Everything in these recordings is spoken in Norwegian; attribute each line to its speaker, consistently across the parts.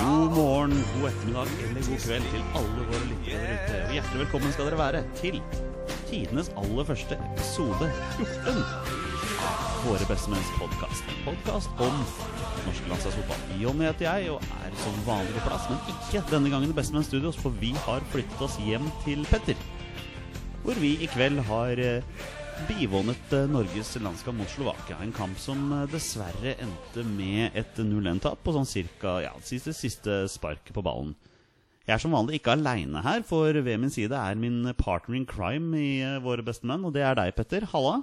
Speaker 1: morgen, god ettermiddag eller god kveld til alle våre lyttere der ute. Og hjertelig velkommen skal dere være til tidenes aller første episode 14 av Våre bestemenns podkast. En podkast om norsk landslagsfotball. Jonny heter jeg og er som vanlig på plass, men ikke denne gangen i Bestemenns Studios, for vi har flyttet oss hjem til Petter. Hvor vi i kveld har eh, bivånet eh, Norges landskamp mot Slovakia. En kamp som eh, dessverre endte med et 0-1-tap på sånn cirka ja, siste, siste spark på ballen. Jeg er som vanlig ikke aleine her, for ved min side er min partner in crime i eh, Våre beste menn, og det er deg, Petter. Halla.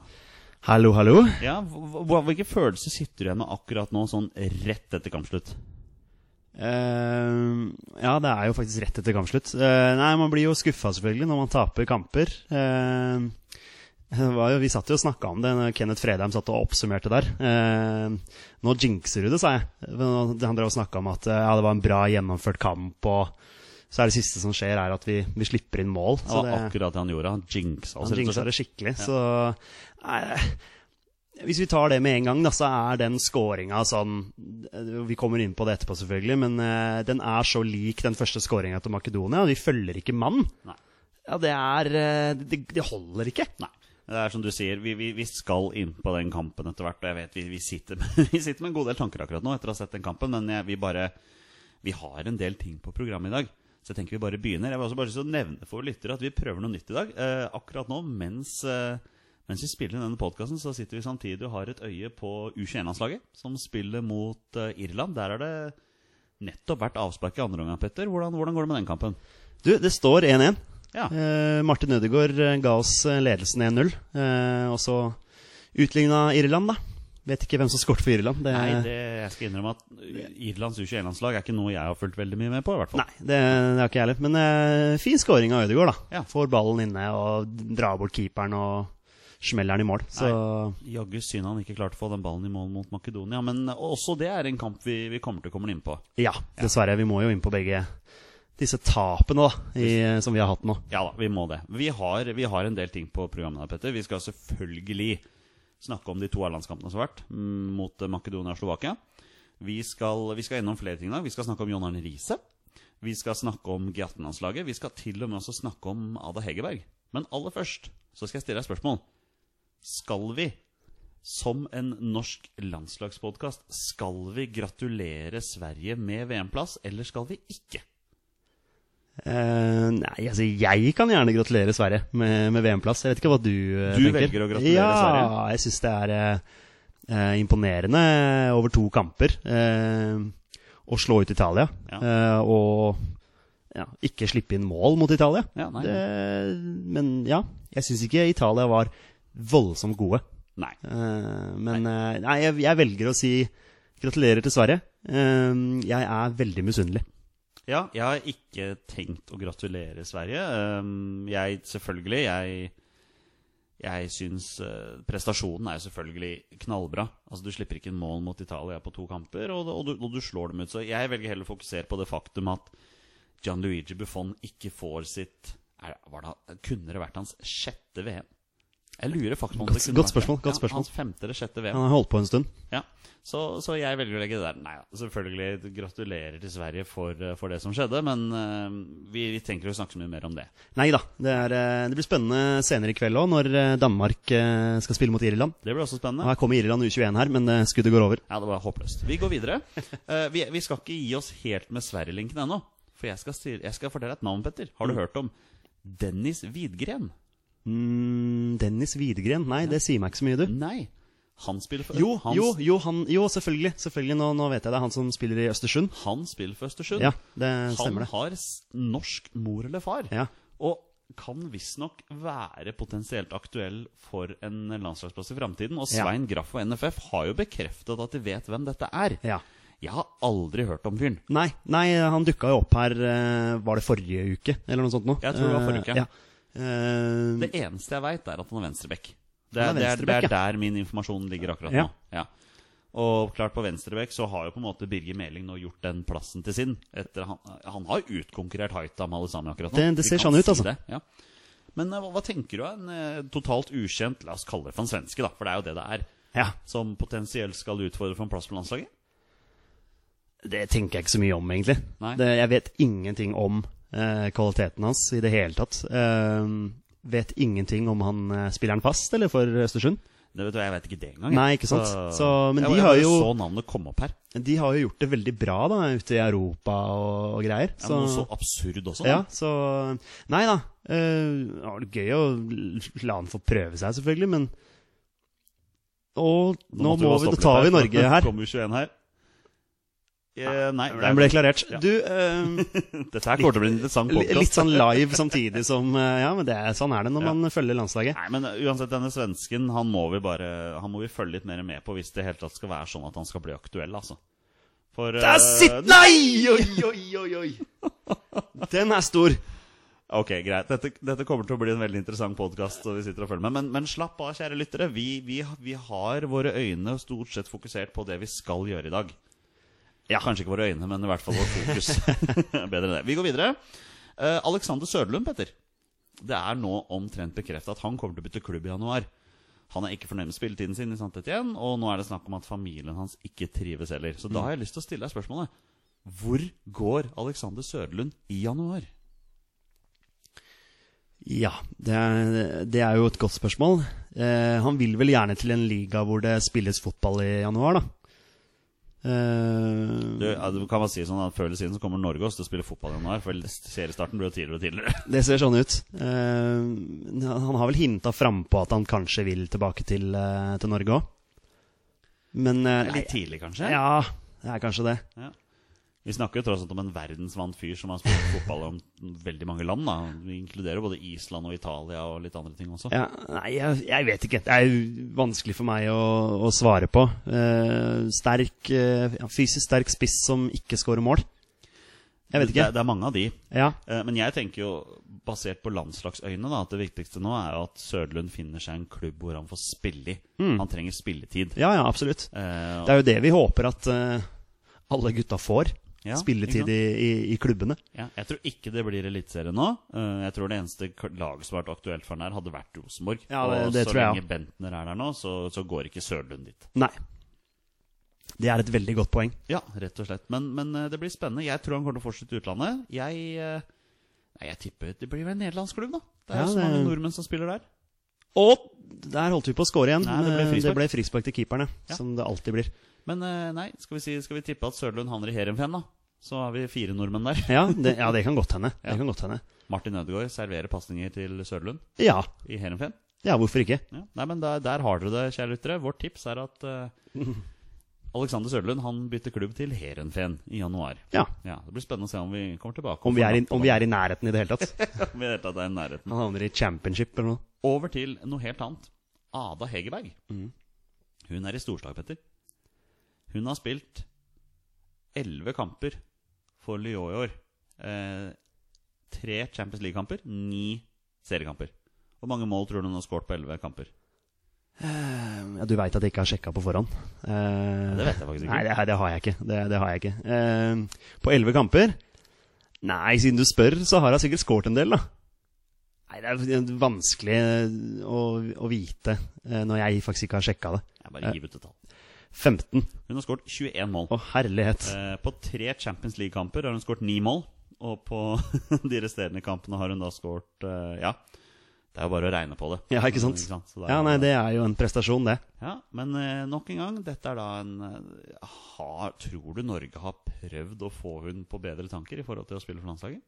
Speaker 2: Hallo, hallo.
Speaker 1: Ja, hva- hva- Hvilke følelser sitter du igjen med akkurat nå, sånn rett etter kampslutt?
Speaker 2: Eh, ja, det er jo faktisk rett etter kampslutt. Eh, nei, man blir jo skuffa selvfølgelig når man taper kamper. Eh, det var jo, vi satt jo og snakka om det når Kenneth Fredheim satt og oppsummerte der. Eh, nå jinxer du det, sa jeg. Men Han drev og snakka om at eh, ja, det var en bra gjennomført kamp, og så er det siste som skjer, er at vi, vi slipper inn mål.
Speaker 1: Det
Speaker 2: Så
Speaker 1: var
Speaker 2: det,
Speaker 1: akkurat det han gjorde. Han jinxa oss, Altså,
Speaker 2: han
Speaker 1: rett og
Speaker 2: jinxa
Speaker 1: slett.
Speaker 2: det skikkelig. Så nei, Hvis vi tar det med en gang, da, så er den scoringa sånn Vi kommer inn på det etterpå, selvfølgelig, men eh, den er så lik den første scoringa til Makedonia, og de følger ikke mann.
Speaker 1: Nei.
Speaker 2: Ja, det er eh, Det, det holder ikke.
Speaker 1: Nei. Det er som du sier, vi, vi, vi skal inn på den kampen etter hvert. Og jeg vet vi, vi, sitter med, vi sitter med en god del tanker akkurat nå etter å ha sett den kampen, men jeg, vi bare Vi har en del ting på programmet i dag. Så jeg tenker vi bare begynner. Jeg vil også bare lyst til å nevne for lyttere at vi prøver noe nytt i dag. Eh, akkurat nå, mens, eh, mens vi spiller inn denne podkasten, så sitter vi samtidig og har et øye på U21-landslaget, som spiller mot eh, Irland. Der har det nettopp vært avspark i andre omgang, Petter. Hvordan, hvordan går det med den kampen?
Speaker 2: Du, det står 1-1.
Speaker 1: Ja.
Speaker 2: Eh, Martin Ødegaard eh, ga oss eh, ledelsen 1-0, eh, og så utligna Irland, da. Vet ikke hvem som skåret for Irland. Det,
Speaker 1: Nei, det, jeg skal innrømme at uh, Irlands U21-landslag er ikke noe jeg har fulgt veldig mye med på. i hvert fall
Speaker 2: Nei, det, det har ikke jeg heller. Men eh, fin scoring av Ødegaard, da.
Speaker 1: Ja.
Speaker 2: Får ballen inne og drar bort keeperen og smeller den i mål. Så
Speaker 1: Jaggu synd han ikke klarte å få den ballen i mål mot Makedonia. Men også det er en kamp vi, vi kommer til å komme inn på.
Speaker 2: ja, dessverre. Vi må jo inn på begge disse tapene da, i, som vi har hatt nå.
Speaker 1: Ja da, vi må det. Vi har, vi har en del ting på programmet her, Petter. Vi skal selvfølgelig snakke om de to A-landskampene som har vært, mm, mot eh, Makedonia og Slovakia. Vi skal, vi skal innom flere ting i dag. Vi skal snakke om John Arne Riise. Vi skal snakke om G18-landslaget. Vi skal til og med også snakke om Ada Hegerberg. Men aller først så skal jeg stille deg et spørsmål. Skal vi, som en norsk landslagspodkast, skal vi gratulere Sverige med VM-plass, eller skal vi ikke?
Speaker 2: Eh, nei, altså jeg kan gjerne gratulere Sverige med, med VM-plass. Jeg vet ikke hva du eh,
Speaker 1: Du
Speaker 2: tenker.
Speaker 1: velger å gratulere
Speaker 2: ja,
Speaker 1: Sverige?
Speaker 2: jeg syns det er eh, eh, imponerende over to kamper eh, å slå ut Italia.
Speaker 1: Ja.
Speaker 2: eh, og ja, ikke slippe inn mål mot Italia.
Speaker 1: Ja, nei.
Speaker 2: det, men ja, jeg syns ikke Italia var voldsomt gode.
Speaker 1: Nei.
Speaker 2: Eh, men eh, nei, jeg, jeg velger å si gratulerer til Sverige. Eh, jeg er veldig misunnelig.
Speaker 1: Ja, jeg har ikke tenkt å gratulere Sverige. Ehm, Jeg selvfølgelig Jeg, jeg syns eh, prestasjonen er jo selvfølgelig knallbra. Altså Du slipper ikke inn mål mot Italia på to kamper, og, og, du, og du slår dem ut. Så jeg velger heller å fokusere på det faktum at Gianluigi Buffon ikke får sitt er, det- var det, Kunne det vært hans sjette VM? Jeg lurer faktisk på om det
Speaker 2: Godt-
Speaker 1: kunne
Speaker 2: godt
Speaker 1: vært det.
Speaker 2: spørsmål, godt
Speaker 1: Ja,
Speaker 2: spørsmål.
Speaker 1: hans femte eller sjette VM.
Speaker 2: Han har holdt på en stund.
Speaker 1: Ja, så, så jeg velger å legge det der. Nei, ja, selvfølgelig gratulerer til Sverige for, eh, for det som skjedde, men eh, vi, vi tenker å snakke så mye mer om det.
Speaker 2: Nei da. Det, er, eh, det blir spennende senere i kveld òg, når eh, Danmark eh, skal spille mot Irland.
Speaker 1: Det blir også
Speaker 2: Og
Speaker 1: spennende.
Speaker 2: Her kommer Irland U21 her, men eh, skuddet går over.
Speaker 1: Ja, det var håpløst. Vi går videre. Eh, vi, vi skal ikke gi oss helt med Sverigelinken ennå, for jeg skal, si- jeg skal fortelle deg et navn, Petter. Har du hørt om Dennis Widgren?
Speaker 2: Mm, Dennis Widgren. Nei, det sier meg ikke så mye, du.
Speaker 1: Nei. Han spiller for
Speaker 2: Jo,
Speaker 1: han,
Speaker 2: jo, jo, han, jo selvfølgelig. selvfølgelig nå, nå vet jeg det. Han som spiller i Østersund.
Speaker 1: han spiller for Østersund.
Speaker 2: Ja, det
Speaker 1: han
Speaker 2: stemmer det.
Speaker 1: har s- norsk mor eller far.
Speaker 2: Ja.
Speaker 1: Og kan visstnok være potensielt aktuell for en landslagsplass i framtiden. Og
Speaker 2: Ja.
Speaker 1: Svein Graff og NFF har jo bekreftet at de vet hvem dette er.
Speaker 2: ja.
Speaker 1: Jeg har aldri hørt om fyren.
Speaker 2: Nei, nei, han dukka jo opp her eh, Var det forrige uke, eller noe sånt nå?
Speaker 1: Jeg tror det var forrige uke.
Speaker 2: Eh, ja. Eh,
Speaker 1: Det eneste jeg veit, er at han er venstrebekk. Det er,
Speaker 2: Han er
Speaker 1: det, er, det
Speaker 2: venstrebekk,
Speaker 1: er der min informasjon ligger akkurat
Speaker 2: Ja.
Speaker 1: nå. Ja. Og klart på venstrebekk så har jo på en måte Birger Meling nå gjort den plassen til sin. Etter han, han har jo utkonkurrert Haitam Alisami akkurat nå.
Speaker 2: Det- det
Speaker 1: Vi
Speaker 2: ser
Speaker 1: kan
Speaker 2: sånn ut,
Speaker 1: si
Speaker 2: altså.
Speaker 1: det, Ja. Men eh, hva, hva tenker du av en eh, totalt ukjent, la oss kalle det for en svenske, da, for det er jo det det er,
Speaker 2: ja.
Speaker 1: som potensielt skal utfordre for en plass på landslaget?
Speaker 2: Det tenker jeg ikke så mye om, egentlig.
Speaker 1: Nei.
Speaker 2: Det, jeg vet ingenting om eh, kvaliteten hans i det hele tatt. Eh, vet ingenting om han eh, spiller han fast, eller, for Østersund.
Speaker 1: Det vet du, Jeg vet ikke det engang. jeg.
Speaker 2: Nei, ikke sant? Så- men
Speaker 1: jeg,
Speaker 2: de
Speaker 1: jeg
Speaker 2: har
Speaker 1: bare
Speaker 2: jo-
Speaker 1: så navnet komme opp her.
Speaker 2: De har jo gjort det veldig bra da, ute i Europa og, og greier.
Speaker 1: Ja, men Noe så absurd også. da.
Speaker 2: Ja, så Nei da. eh, det var gøy å l- la han få prøve seg, selvfølgelig, men Og nå,
Speaker 1: måtte
Speaker 2: må
Speaker 1: bare
Speaker 2: vi,
Speaker 1: stoppe
Speaker 2: da tar
Speaker 1: litt
Speaker 2: vi
Speaker 1: her, for
Speaker 2: Norge
Speaker 1: det
Speaker 2: her.
Speaker 1: Kommer 21 her. Eh, nei, det
Speaker 2: Den ble klarert.
Speaker 1: Ja.
Speaker 2: Du, eh,
Speaker 1: dette her kommer til å bli en interessant
Speaker 2: li-
Speaker 1: podcast.
Speaker 2: litt sånn live samtidig som eh, Ja, men det er, sånn er det når
Speaker 1: Ja.
Speaker 2: man følger landslaget.
Speaker 1: Nei, men uansett, denne svensken han må vi bare Han må vi følge litt mer med på hvis det i hele tatt skal være sånn at han skal bli aktuell, altså. For eh,
Speaker 2: Der sitt Nei! Oi, oi, oi, oi! Den er stor.
Speaker 1: Ok, greit. Dette, dette kommer til å bli en veldig interessant podkast. Men, men, men slapp av, kjære lyttere. Vi, vi, vi har våre øyne stort sett fokusert på det vi skal gjøre i dag. Ja, Kanskje ikke våre øyne, men i hvert fall vårt fokus. Bedre enn det. Vi går videre. Eh, Alexander Søderlund, Petter. Det er nå omtrent bekrefta at han kommer til å bytte klubb i januar. Han er ikke fornøyd med spilletiden sin i St. Etienne, og nå er det snakk om at familien hans ikke trives heller. Så da har jeg lyst til å stille deg spørsmålet. Hvor går Alexander Søderlund i januar?
Speaker 2: Ja, det er, det er jo et godt spørsmål. Eh, han vil vel gjerne til en liga hvor det spilles fotball i januar, da. Eh,
Speaker 1: Du, ja, du kan bare si sånn at Før eller siden så kommer Norge også til å spille fotball i januar. For seriestarten blir jo tidligere og tidligere.
Speaker 2: det ser sånn ut. Eh, han har vel hinta frampå at han kanskje vil tilbake til, eh, til Norge òg. Men eh,
Speaker 1: Litt tidlig, kanskje?
Speaker 2: nei, Ja, det er kanskje det.
Speaker 1: Vi snakker jo tross alt om en verdensvant fyr som har spilt fotball om veldig mange land. da Vi inkluderer både Island og Italia og litt andre ting også.
Speaker 2: Ja, nei, jeg, jeg vet ikke. Det er jo vanskelig for meg å, å svare på. Eh, sterk, eh, ja, fysisk sterk spiss som ikke scorer mål. Jeg vet
Speaker 1: Det,
Speaker 2: ikke.
Speaker 1: det er mange av de.
Speaker 2: Ja,
Speaker 1: Eh, Men jeg tenker jo, basert på landslagsøyne, da, at det viktigste nå er jo at Søderlund finner seg en klubb hvor han får spille i. Han trenger spilletid.
Speaker 2: Ja, Mm. ja, absolutt.
Speaker 1: Eh,
Speaker 2: Det er jo det vi håper at eh, alle gutta får.
Speaker 1: Ja, ikke
Speaker 2: Spilletid
Speaker 1: sant?
Speaker 2: i, i, i klubbene.
Speaker 1: Ja, jeg tror ikke det blir eliteserie nå. Eh, Jeg tror det eneste k- laget som har vært aktuelt for den her, hadde vært Rosenborg.
Speaker 2: Ja, det-
Speaker 1: og
Speaker 2: det
Speaker 1: så
Speaker 2: tror jeg
Speaker 1: lenge Bentner er der nå, så, så går ikke Sørlund dit.
Speaker 2: Nei. Det er et veldig godt poeng.
Speaker 1: Ja, rett og slett. Men, men eh, det blir spennende. Jeg tror han kommer til å fortsette i utlandet. Jeg eh, Nei, jeg tipper det blir vel en nederlandsk klubb, da. Det er
Speaker 2: Ja,
Speaker 1: jo så
Speaker 2: det-
Speaker 1: mange nordmenn som spiller der.
Speaker 2: Og der holdt vi på å score igjen.
Speaker 1: Nei, det ble
Speaker 2: men
Speaker 1: frispark.
Speaker 2: det ble frispark til keeperne,
Speaker 1: Ja.
Speaker 2: som det alltid blir.
Speaker 1: Men eh, nei, skal vi, si, skal vi tippe at Sørlund havner i Heerenveen, da? Så har vi fire nordmenn der.
Speaker 2: Ja, det, ja, det kan godt hende.
Speaker 1: Ja.
Speaker 2: Det kan godt hende.
Speaker 1: Martin Ødegaard serverer pasninger til Sørlund
Speaker 2: Ja.
Speaker 1: i Heerenveen.
Speaker 2: ja, hvorfor ikke?
Speaker 1: Ja. Nei, men der, der har dere det, kjære lyttere. Vårt tips er at eh, Alexander Sørlund han bytter klubb til Heerenveen i januar.
Speaker 2: Ja.
Speaker 1: Ja, Det blir spennende å se om vi kommer tilbake.
Speaker 2: Om vi, er i, om vi er i nærheten i det hele tatt.
Speaker 1: Om vi i det hele tatt er i nærheten.
Speaker 2: Han havner i championship eller noe.
Speaker 1: Over til noe helt annet. Ada Hegerberg.
Speaker 2: Mm.
Speaker 1: Hun er i storslag, Petter. Hun har spilt elleve kamper for Lyon i år. Eh, tre Champions League-kamper, ni seriekamper. Hvor mange mål tror du hun har skåret på elleve kamper?
Speaker 2: Ja, du veit at jeg ikke har sjekka på forhånd. Eh,
Speaker 1: Det vet jeg faktisk ikke.
Speaker 2: Nei, det, det har jeg ikke. Det, det har jeg ikke. Eh, på elleve kamper Nei, siden du spør, så har jeg sikkert skåret en del, da. Nei, det er vanskelig å, å vite eh, når jeg faktisk ikke har sjekka det.
Speaker 1: Jeg bare gir ut et tall.
Speaker 2: 15.
Speaker 1: Hun har skåret 21 mål.
Speaker 2: Å, herlighet.
Speaker 1: Eh, på tre Champions League-kamper har hun skåret ni mål. Og på de resterende kampene har hun da skåret eh, Ja, det er jo bare å regne på det.
Speaker 2: Ja, ikke sant?
Speaker 1: Så det er
Speaker 2: Ja,
Speaker 1: jo-
Speaker 2: nei, det er jo en prestasjon, det.
Speaker 1: ja, Men eh, nok en gang, dette er da en eh, har, Tror du Norge har prøvd å få hun på bedre tanker i forhold til å spille for landslaget?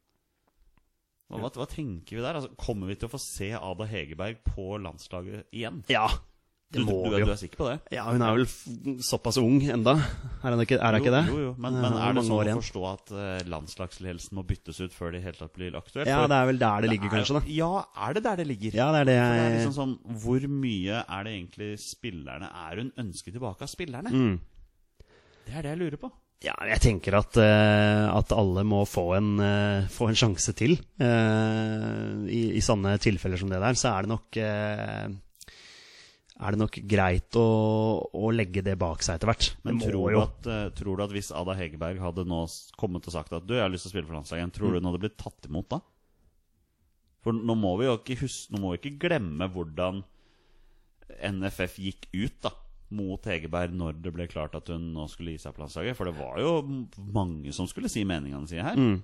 Speaker 1: Hva, hva, hva tenker vi der? Altså, kommer vi til å få se Ada Hegerberg på landslaget igjen?
Speaker 2: Ja.
Speaker 1: Du,
Speaker 2: Det
Speaker 1: du,
Speaker 2: må
Speaker 1: du,
Speaker 2: vi
Speaker 1: er- du
Speaker 2: jo.
Speaker 1: er sikker på det?
Speaker 2: Ja, hun er vel f såpass ung enda. Er hun ikke, er hun
Speaker 1: Jo,
Speaker 2: ikke det?
Speaker 1: Jo, jo, men,
Speaker 2: Eh,
Speaker 1: men er
Speaker 2: hvor
Speaker 1: det
Speaker 2: mange
Speaker 1: sånn
Speaker 2: år
Speaker 1: å
Speaker 2: igjen?
Speaker 1: forstå at eh, landslagsledelsen må byttes ut før det i hele tatt blir aktuelt?
Speaker 2: Ja,
Speaker 1: For
Speaker 2: det er vel der det ligger,
Speaker 1: er-
Speaker 2: kanskje, da.
Speaker 1: Ja, er det der det ligger?
Speaker 2: Ja, det er det
Speaker 1: For det er
Speaker 2: jeg
Speaker 1: liksom sånn, Hvor mye er det egentlig spillerne Er hun ønsket tilbake av spillerne?
Speaker 2: Mm.
Speaker 1: Det er det jeg lurer på.
Speaker 2: Ja, jeg tenker at, eh, at alle må få en, eh, få en sjanse til. Eh, i, I sånne tilfeller som det der, så er det nok eh, Er det nok greit å, å legge det bak seg etter hvert.
Speaker 1: Men
Speaker 2: Det må
Speaker 1: tror du,
Speaker 2: jo-
Speaker 1: at, eh, tror du at hvis Ada Hegerberg hadde nå s- kommet og sagt at du, jeg har lyst til å spille for landslaget, igjen», tror
Speaker 2: Mm.
Speaker 1: du hun hadde blitt tatt imot da? For nå må vi jo ikke huske, nå må vi ikke glemme hvordan NFF gikk ut, da. mot Hegerberg når det ble klart at hun nå skulle gi seg på landslaget. For det var jo mange som skulle si meningene sine her.
Speaker 2: Mm.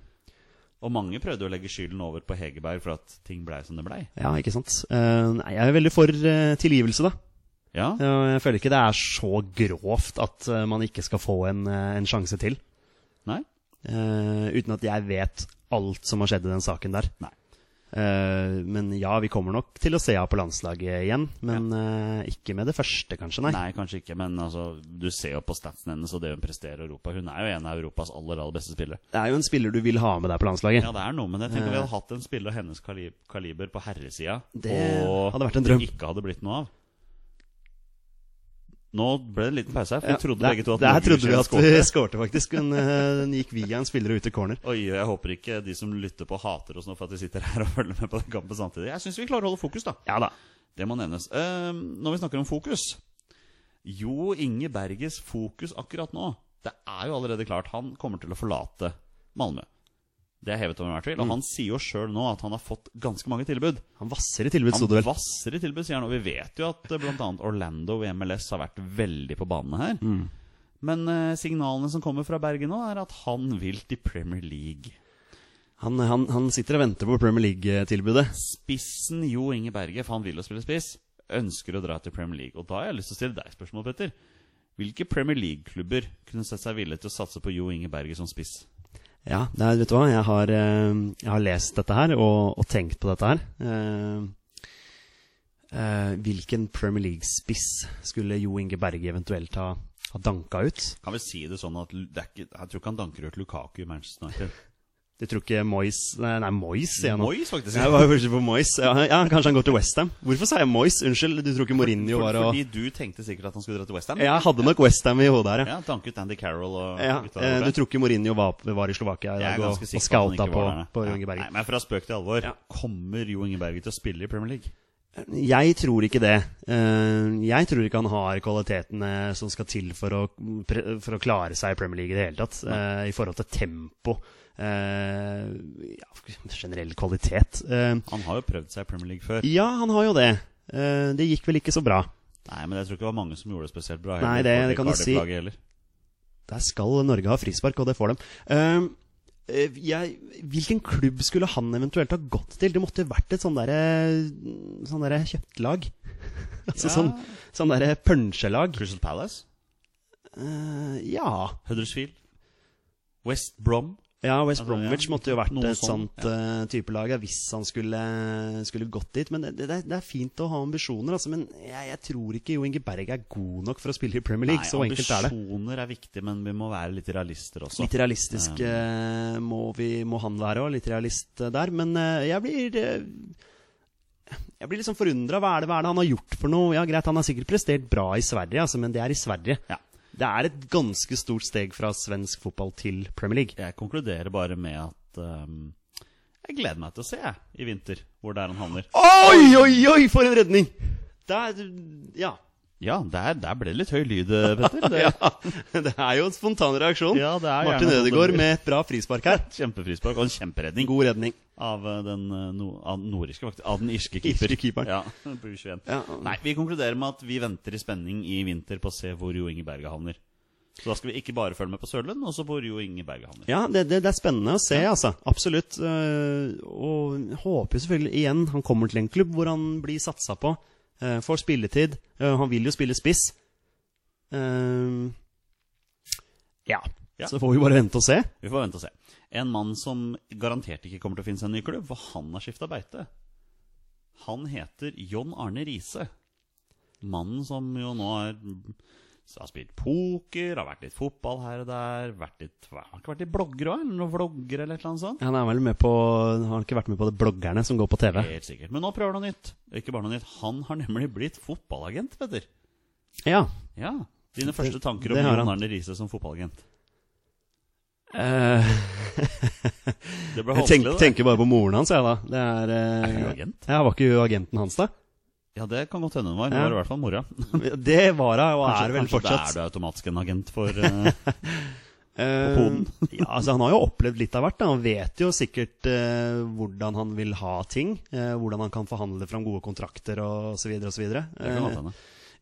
Speaker 1: Og mange prøvde å legge skylden over på Hegerberg for at ting blei som det blei.
Speaker 2: Ja, ikke sant. Eh, nei, jeg er veldig for eh, tilgivelse, da.
Speaker 1: Ja,
Speaker 2: Ja, Jeg føler ikke det er så grovt at eh, man ikke skal få en, eh, en sjanse til.
Speaker 1: Nei.
Speaker 2: Eh, uten at jeg vet alt som har skjedd i den saken der.
Speaker 1: Nei.
Speaker 2: Eh, men ja, vi kommer nok til å se henne på landslaget igjen. Men eh, ikke med det første, kanskje, nei.
Speaker 1: Nei, kanskje ikke, men altså, du ser jo på statsen hennes og det hun presterer i Europa. Hun er jo en av Europas aller aller beste spillere.
Speaker 2: Det er jo en spiller du vil ha med deg på landslaget.
Speaker 1: Ja, det er noe med det. Tenk om vi hadde hatt en spiller av hennes kali- kaliber på herresida,
Speaker 2: Det
Speaker 1: og
Speaker 2: hadde vært en drøm.
Speaker 1: det ikke hadde blitt noe av. Nå ble det en liten pause her, for vi trodde
Speaker 2: Ja,
Speaker 1: begge to at
Speaker 2: det her
Speaker 1: Norge
Speaker 2: trodde vi
Speaker 1: skulle
Speaker 2: at vi skårte, faktisk. Men eh, den gikk via en spiller og ut i corner.
Speaker 1: Oi, jeg håper ikke de som lytter på, hater oss nå for at de sitter her og følger med på den kampen samtidig. Jeg syns vi klarer å holde fokus, da.
Speaker 2: Ja da.
Speaker 1: Det må nevnes. Eh, når vi snakker om fokus Jo Inge Berges fokus akkurat nå Det er jo allerede klart. Han kommer til å forlate Malmö. Det er hevet over enhver tvil.
Speaker 2: Mm.
Speaker 1: Og han sier jo sjøl nå at han har fått ganske mange tilbud.
Speaker 2: Han vasser i tilbud, sto
Speaker 1: Han
Speaker 2: det vel.
Speaker 1: vasser i tilbud, sier han. Og vi vet jo at bl.a. Orlando og MLS har vært veldig på banen her.
Speaker 2: Mm.
Speaker 1: Men eh, signalene som kommer fra Bergen nå, er at han vil til Premier League.
Speaker 2: Han, han, han sitter og venter på Premier League-tilbudet.
Speaker 1: Spissen Jo Inge Berge, for han vil jo spille spiss, ønsker å dra til Premier League. Og da har jeg lyst til å stille deg spørsmål, Petter. Hvilke Premier League-klubber kunne sett seg villige til å satse på Jo Inge Berge som spiss?
Speaker 2: Ja, det er, vet du hva, jeg har, eh, jeg har lest dette her og, og tenkt på dette her. Eh, eh, hvilken Premier League-spiss skulle Jo Inge Berge eventuelt ha, ha danka ut?
Speaker 1: Kan vi si det sånn at det er ikke, Jeg tror ikke han danker ut Lukaku i Manchester United.
Speaker 2: Du tror ikke Moyes Nei, nei Moyes, sier jeg nå.
Speaker 1: Moyes, faktisk.
Speaker 2: Jeg var jo plutselig på Moyes. Ja, ja, kanskje han går til Westham. Hvorfor sa jeg Moyes? Unnskyld, du tror ikke Mourinho var og
Speaker 1: Fordi du tenkte sikkert at han skulle dra til Westham?
Speaker 2: Jeg hadde nok Westham i hodet her,
Speaker 1: Ja,
Speaker 2: ja.
Speaker 1: danke ut Andy Carroll og
Speaker 2: ja.
Speaker 1: gutta
Speaker 2: eh,
Speaker 1: der.
Speaker 2: Du tror ikke Mourinho var, var i Slovakia i
Speaker 1: Jeg er
Speaker 2: dag og,
Speaker 1: ganske
Speaker 2: og
Speaker 1: sikker på at han
Speaker 2: scouta
Speaker 1: ikke
Speaker 2: på,
Speaker 1: var der.
Speaker 2: på
Speaker 1: Ja.
Speaker 2: Jo Inge Berge?
Speaker 1: Nei, men fra spøk til alvor.
Speaker 2: Ja.
Speaker 1: Kommer Jo Inge Berge til å spille i Premier League?
Speaker 2: Jeg tror ikke det. Eh, Jeg tror ikke han har kvalitetene som skal til for å, pre- for å klare seg i Premier League i det hele tatt. eh, I forhold til tempo. eh, Ja, generell kvalitet. Eh,
Speaker 1: Han har jo prøvd seg i Premier League før.
Speaker 2: Ja, han har jo det. Eh, Det gikk vel ikke så bra.
Speaker 1: Nei, men jeg tror ikke det var mange som gjorde det spesielt bra.
Speaker 2: Nei, det- det kan du si.
Speaker 1: Cardiff-laget Heller.
Speaker 2: Der skal Norge ha frispark, og det får dem. Eh, eh, Jeg, hvilken klubb skulle han eventuelt ha gått til? Det måtte jo vært et sånn derre sånn der kjøpt lag. altså
Speaker 1: Ja.
Speaker 2: sånn, sånn derre punsjelag.
Speaker 1: Crystal Palace,
Speaker 2: Eh, ja.
Speaker 1: Huddersfield, West Brom.
Speaker 2: Ja, West
Speaker 1: Altså,
Speaker 2: Bromwich
Speaker 1: ja,
Speaker 2: måtte jo vært
Speaker 1: noe
Speaker 2: et
Speaker 1: sånn,
Speaker 2: sånt eh, type lag ja, hvis han skulle, skulle gått dit. Men det, det, er- det er fint å ha ambisjoner, altså, men jeg, jeg tror ikke Jo Inge Berg er god nok for å spille i Premier League. så enkelt er det.
Speaker 1: ambisjoner er viktig, men vi må være litt realister også.
Speaker 2: Litt realistisk eh, må, vi, må han være òg, litt realist eh, der. Men eh, jeg blir eh, jeg blir liksom forundra. Hva, er det- hva er det han har gjort for noe? Ja, greit, Han har sikkert prestert bra i Sverige, altså, men det er i Sverige.
Speaker 1: Ja.
Speaker 2: Det er et ganske stort steg fra svensk fotball til Premier League.
Speaker 1: Jeg konkluderer bare med at ehm, jeg gleder meg til å se jeg, i vinter hvor det er han havner.
Speaker 2: Oi, oi, oi, for en redning! Der, ja.
Speaker 1: Ja, der, der ble det litt høy lyd, eh, Petter. Det,
Speaker 2: ja. Det er jo en spontan reaksjon.
Speaker 1: Ja, det er
Speaker 2: Martin
Speaker 1: gjerne sånn det
Speaker 2: Ødegaard
Speaker 1: blir.
Speaker 2: med et bra frispark her.
Speaker 1: Kjempefrispark og en kjemperedning.
Speaker 2: God redning.
Speaker 1: Av eh, den eh, no, av den nordiske, faktisk. Av den irske
Speaker 2: Irske
Speaker 1: keeper.
Speaker 2: keeperen.
Speaker 1: Ja, på U21.
Speaker 2: Ja.
Speaker 1: Nei, vi konkluderer med at vi venter i spenning i vinter på å se hvor Jo Inge Berge havner. Så da skal vi ikke bare følge med på Sørlund, men også hvor Jo Inge Berge havner.
Speaker 2: Ja, det, det, det er spennende å se, altså. Absolutt. Eh, Og jeg håper jo selvfølgelig igjen han kommer til en klubb hvor han blir satsa på. eh, Får spilletid. Eh, Han vil jo spille spiss. Eh, Ja.
Speaker 1: Ja.
Speaker 2: Så får vi bare vente og se.
Speaker 1: Vi får vente og se. En mann som garantert ikke kommer til å finne seg en ny klubb, for han har skifta beite. Han heter John Arne Riise. Mannen som jo nå har, har spilt poker, har vært litt fotball her og der vært litt, Har han ikke vært litt blogger òg? Eller noen vlogger eller et eller annet sånt?
Speaker 2: Han er vel med på Har han ikke vært med på det bloggerne som går på TV?
Speaker 1: Helt sikkert. Men nå prøver han noe nytt. Ikke bare noe nytt. Han har nemlig blitt fotballagent, Petter.
Speaker 2: Ja.
Speaker 1: Ja. Dine første tanker om
Speaker 2: det har
Speaker 1: Jon
Speaker 2: han.
Speaker 1: Arne Riise som fotballagent.
Speaker 2: Eh,
Speaker 1: Det ble
Speaker 2: Jeg tenk,
Speaker 1: vanskelig, det.
Speaker 2: tenker bare på moren hans, jeg, da. Det er, eh,
Speaker 1: Er hun agent?
Speaker 2: Ja, var ikke hun agenten hans, da?
Speaker 1: Ja, det kan godt hende hun var. Hun
Speaker 2: Ja.
Speaker 1: var i hvert fall mora.
Speaker 2: Det var hun, og
Speaker 1: Kanskje,
Speaker 2: er vel
Speaker 1: kanskje
Speaker 2: fortsatt.
Speaker 1: da er du automatisk en agent for eh,
Speaker 2: Eh,
Speaker 1: poden.
Speaker 2: ja, altså Han har jo opplevd litt av hvert. da Han vet jo sikkert eh, hvordan han vil ha ting. eh, hvordan han kan forhandle fram gode kontrakter og så videre og så videre.
Speaker 1: Det kan godt
Speaker 2: Eh,
Speaker 1: hende.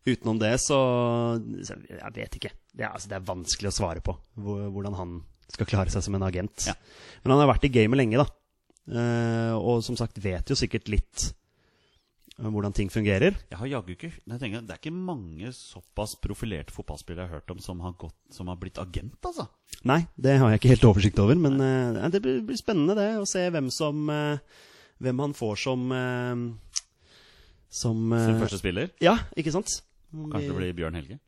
Speaker 2: utenom det så, så Jeg vet ikke. Det er, altså, det er vanskelig å svare på hvor- hvordan han skal klare seg som en agent.
Speaker 1: Ja.
Speaker 2: Men han har vært i gamet lenge, da. Eh, og som sagt vet jo sikkert litt om hvordan ting fungerer.
Speaker 1: Jeg har jaggu ikke Nei, jeg tenker, Det er ikke mange såpass profilerte fotballspillere jeg har hørt om som har, gått, som har blitt agent, altså.
Speaker 2: Nei, det har jeg ikke helt oversikt over, men eh, nei, det blir, blir spennende det, å se hvem som eh, Hvem han får som eh, Som eh,
Speaker 1: Sin første spiller.
Speaker 2: Ja, ikke sant? Om
Speaker 1: Kanskje det
Speaker 2: vi-
Speaker 1: blir Bjørn Helge?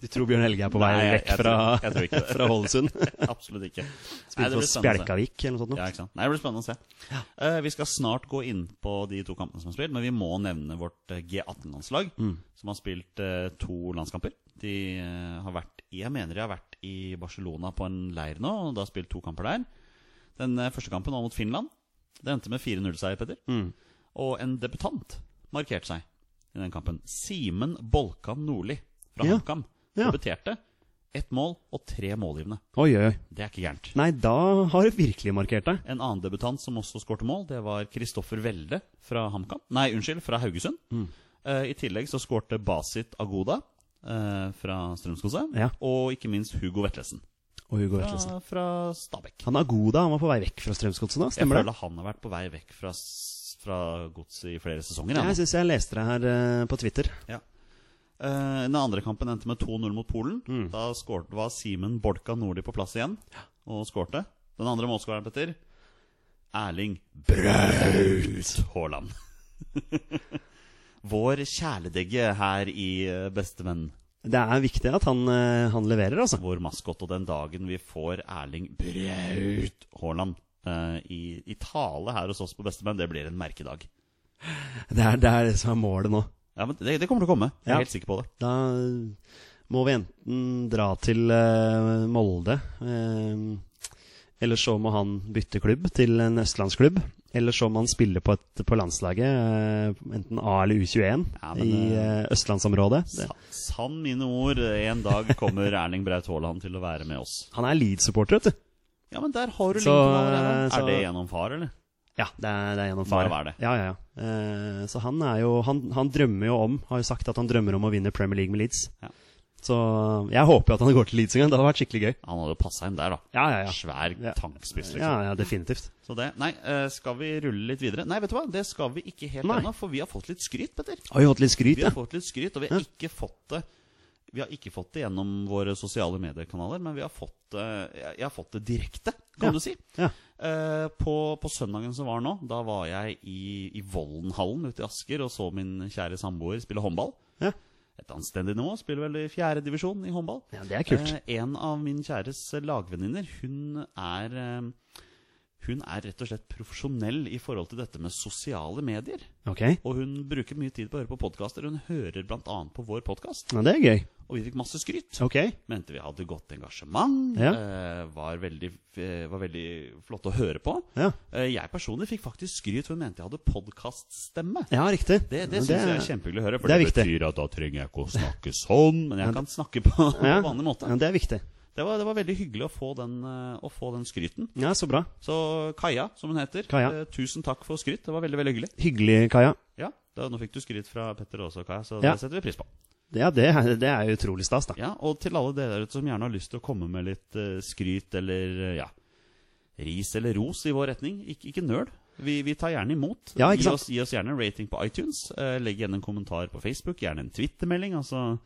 Speaker 2: Du tror Bjørn Helge er på vei
Speaker 1: Nei, jeg-
Speaker 2: vekk
Speaker 1: jeg
Speaker 2: fra,
Speaker 1: tror- jeg tror ikke det.
Speaker 2: fra Hålesund?
Speaker 1: Absolutt ikke. Nei,
Speaker 2: Spilte
Speaker 1: det blir spennende å
Speaker 2: for
Speaker 1: se.
Speaker 2: Spjelkavik eller noe sånt? nå.
Speaker 1: Ja, ikke sant? Nei, det blir spennende å se. Eh, vi skal snart gå inn på de to kampene som er spilt, men vi må nevne vårt eh, G18-landslag,
Speaker 2: Mm.
Speaker 1: som har spilt eh, to landskamper. De eh, har vært Jeg mener de har vært i Barcelona på en leir nå, og da har spilt to kamper der. Den eh, første kampen var mot Finland. Det endte med 4-0-seier, Petter.
Speaker 2: Mm.
Speaker 1: Og en debutant markerte seg i den kampen. Simen Bolkan Nordli fra
Speaker 2: Ja.
Speaker 1: HamKam
Speaker 2: Ja.
Speaker 1: debuterte. Ett mål og tre målgivende.
Speaker 2: Oi, oi, oi.
Speaker 1: Det er ikke gærent.
Speaker 2: Nei, da har du virkelig markert deg.
Speaker 1: En annen debutant som også skårte mål, det var Kristoffer Welde fra HamKam. Nei, unnskyld, fra Haugesund.
Speaker 2: Mm.
Speaker 1: Eh, I tillegg så skårte Basit Agoda eh, fra Strømskose.
Speaker 2: Ja.
Speaker 1: Og ikke minst Hugo Vetlesen
Speaker 2: Og Hugo Vetlesen.
Speaker 1: fra, fra Stabekk.
Speaker 2: Han er god, da. Han var på vei vekk fra Strømsgodset nå,
Speaker 1: Jeg
Speaker 2: stemmer det?
Speaker 1: føler han har vært på vei vekk fra, s- fra godset i flere sesonger.
Speaker 2: Jeg
Speaker 1: Ja.
Speaker 2: syns jeg leste det her eh, på Twitter.
Speaker 1: Ja. Eh, den andre kampen endte med 2-0 mot Polen. Da skårte, var Simen Bolka Nordli på plass igjen og skårte. Den andre målskåreren, Petter, Erling Braut Haaland. Vår kjæledegge her i eh, Bestevenn,
Speaker 2: Det er viktig at han, eh, han leverer, altså.
Speaker 1: vår maskot. Og den dagen vi får Erling Braut Haaland eh, i, i tale her hos oss på Bestevenn, det blir en merkedag.
Speaker 2: Det er det, er det som er målet nå.
Speaker 1: Ja, men det, det kommer til å komme. Jeg er
Speaker 2: Ja.
Speaker 1: helt sikker på det.
Speaker 2: Da må vi enten dra til eh, Molde, eh, eller så må han bytte klubb til en østlandsklubb. Eller så må han spille på, et, på landslaget, eh, enten A eller U21,
Speaker 1: Ja, men,
Speaker 2: i eh, østlandsområdet. Det.
Speaker 1: Sa- Sann mine ord, en dag kommer Erling Braut Haaland til å være med oss.
Speaker 2: Han er Leeds-supporter, vet du.
Speaker 1: Ja, men der har du
Speaker 2: Så,
Speaker 1: linken allerede.
Speaker 2: så-
Speaker 1: Er det gjennom far, eller?
Speaker 2: Ja, det er, det er gjennom
Speaker 1: Bare
Speaker 2: far.
Speaker 1: vær det.
Speaker 2: Ja, ja, ja. Eh, så han er jo han, han drømmer jo om, har jo sagt at han drømmer om å vinne Premier League med Leeds.
Speaker 1: Ja.
Speaker 2: Så eh, jeg håper jo at han går til Leeds en gang. Det hadde vært skikkelig gøy.
Speaker 1: Han hadde jo passa inn der, da.
Speaker 2: Ja, ja, ja.
Speaker 1: Svær
Speaker 2: Ja.
Speaker 1: tankspiss,
Speaker 2: Ja,
Speaker 1: liksom.
Speaker 2: ja, definitivt.
Speaker 1: Så det Nei, eh, skal vi rulle litt videre? Nei, vet du hva, det skal vi ikke helt
Speaker 2: Nei.
Speaker 1: ennå, for vi har fått litt skryt, Petter.
Speaker 2: Har jo hatt litt skryt,
Speaker 1: Vi
Speaker 2: ja.
Speaker 1: har fått litt skryt, og vi har ikke fått det Vi har ikke fått det gjennom våre sosiale mediekanaler, men vi har fått det Jeg jeg har fått det direkte, kan
Speaker 2: Ja.
Speaker 1: du si.
Speaker 2: ja.
Speaker 1: Eh, på, på søndagen som var nå, da var jeg i, i Vollenhallen ute i Asker og så min kjære samboer spille håndball.
Speaker 2: Ja.
Speaker 1: Et anstendig nivå. Spiller vel i fjerde divisjon i håndball.
Speaker 2: Ja, det er kult.
Speaker 1: Eh, en av min kjæres lagvenninner, hun er eh, Hun er rett og slett profesjonell i forhold til dette med sosiale medier.
Speaker 2: Ok,
Speaker 1: Og hun bruker mye tid på å høre på podkaster. Hun hører bl.a. på vår podkast,
Speaker 2: ja, det er gøy.
Speaker 1: og vi fikk masse skryt.
Speaker 2: Ok,
Speaker 1: Mente vi hadde godt engasjement.
Speaker 2: Ja.
Speaker 1: Eh, var, veldig, eh, var veldig flott å høre på.
Speaker 2: ja.
Speaker 1: Eh, Jeg personlig fikk faktisk skryt, for hun mente jeg hadde podcaststemme
Speaker 2: ja riktig.
Speaker 1: Det, det syns jeg er kjempehyggelig å høre. For
Speaker 2: det
Speaker 1: det,
Speaker 2: er viktig.
Speaker 1: betyr at da trenger jeg ikke å snakke sånn, men jeg kan snakke på, på
Speaker 2: Ja.
Speaker 1: vanlig måte.
Speaker 2: Ja, det er viktig.
Speaker 1: Det var, det var veldig hyggelig å få, den, eh, å få den skryten.
Speaker 2: Ja, så bra.
Speaker 1: Så Kaja, som hun heter,
Speaker 2: Kaja.
Speaker 1: eh, tusen takk for skryt. Det var veldig veldig hyggelig.
Speaker 2: Hyggelig, Kaja.
Speaker 1: Ja, da, Nå fikk du skryt fra Petter også, Kaja, så
Speaker 2: Ja.
Speaker 1: det setter vi pris på.
Speaker 2: Ja, det, er- det er jo utrolig stas, da.
Speaker 1: Ja, Og til alle dere der ute som gjerne har lyst til å komme med litt eh, skryt eller eh, ja, ris eller ros i vår retning, ikke, ikke nøl. Vi, vi tar gjerne imot.
Speaker 2: Ja, ikke
Speaker 1: gi,
Speaker 2: sant?
Speaker 1: oss, gi oss gjerne en rating på iTunes. eh, legg igjen en kommentar på Facebook, gjerne en twittermelding. Altså,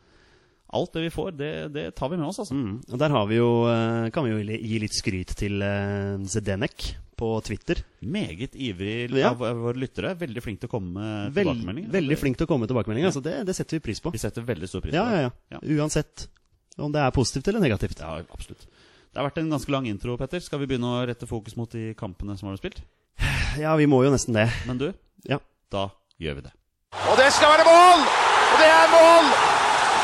Speaker 1: alt det vi får, det, det tar vi med oss, altså.
Speaker 2: Mm. Og der har vi jo, eh, kan vi jo li- gi litt skryt til eh, Zdenek på Twitter.
Speaker 1: Meget ivrig
Speaker 2: Ja.
Speaker 1: av av våre lyttere. Veldig flink til å komme med
Speaker 2: Vel,
Speaker 1: tilbakemeldinger. Altså,
Speaker 2: veldig flink til å komme med tilbakemeldinger. Altså, det, det setter vi pris på.
Speaker 1: Vi setter veldig stor pris
Speaker 2: Ja,
Speaker 1: på det.
Speaker 2: ja, ja. Uansett om det er positivt eller negativt.
Speaker 1: Ja, absolutt. Det har vært en ganske lang intro, Petter. Skal vi begynne å rette fokus mot de kampene som har blitt spilt?
Speaker 2: Ja, vi må jo nesten det.
Speaker 1: Men du,
Speaker 2: Ja.
Speaker 1: da gjør vi det.
Speaker 3: Og det skal være mål! Og det er mål!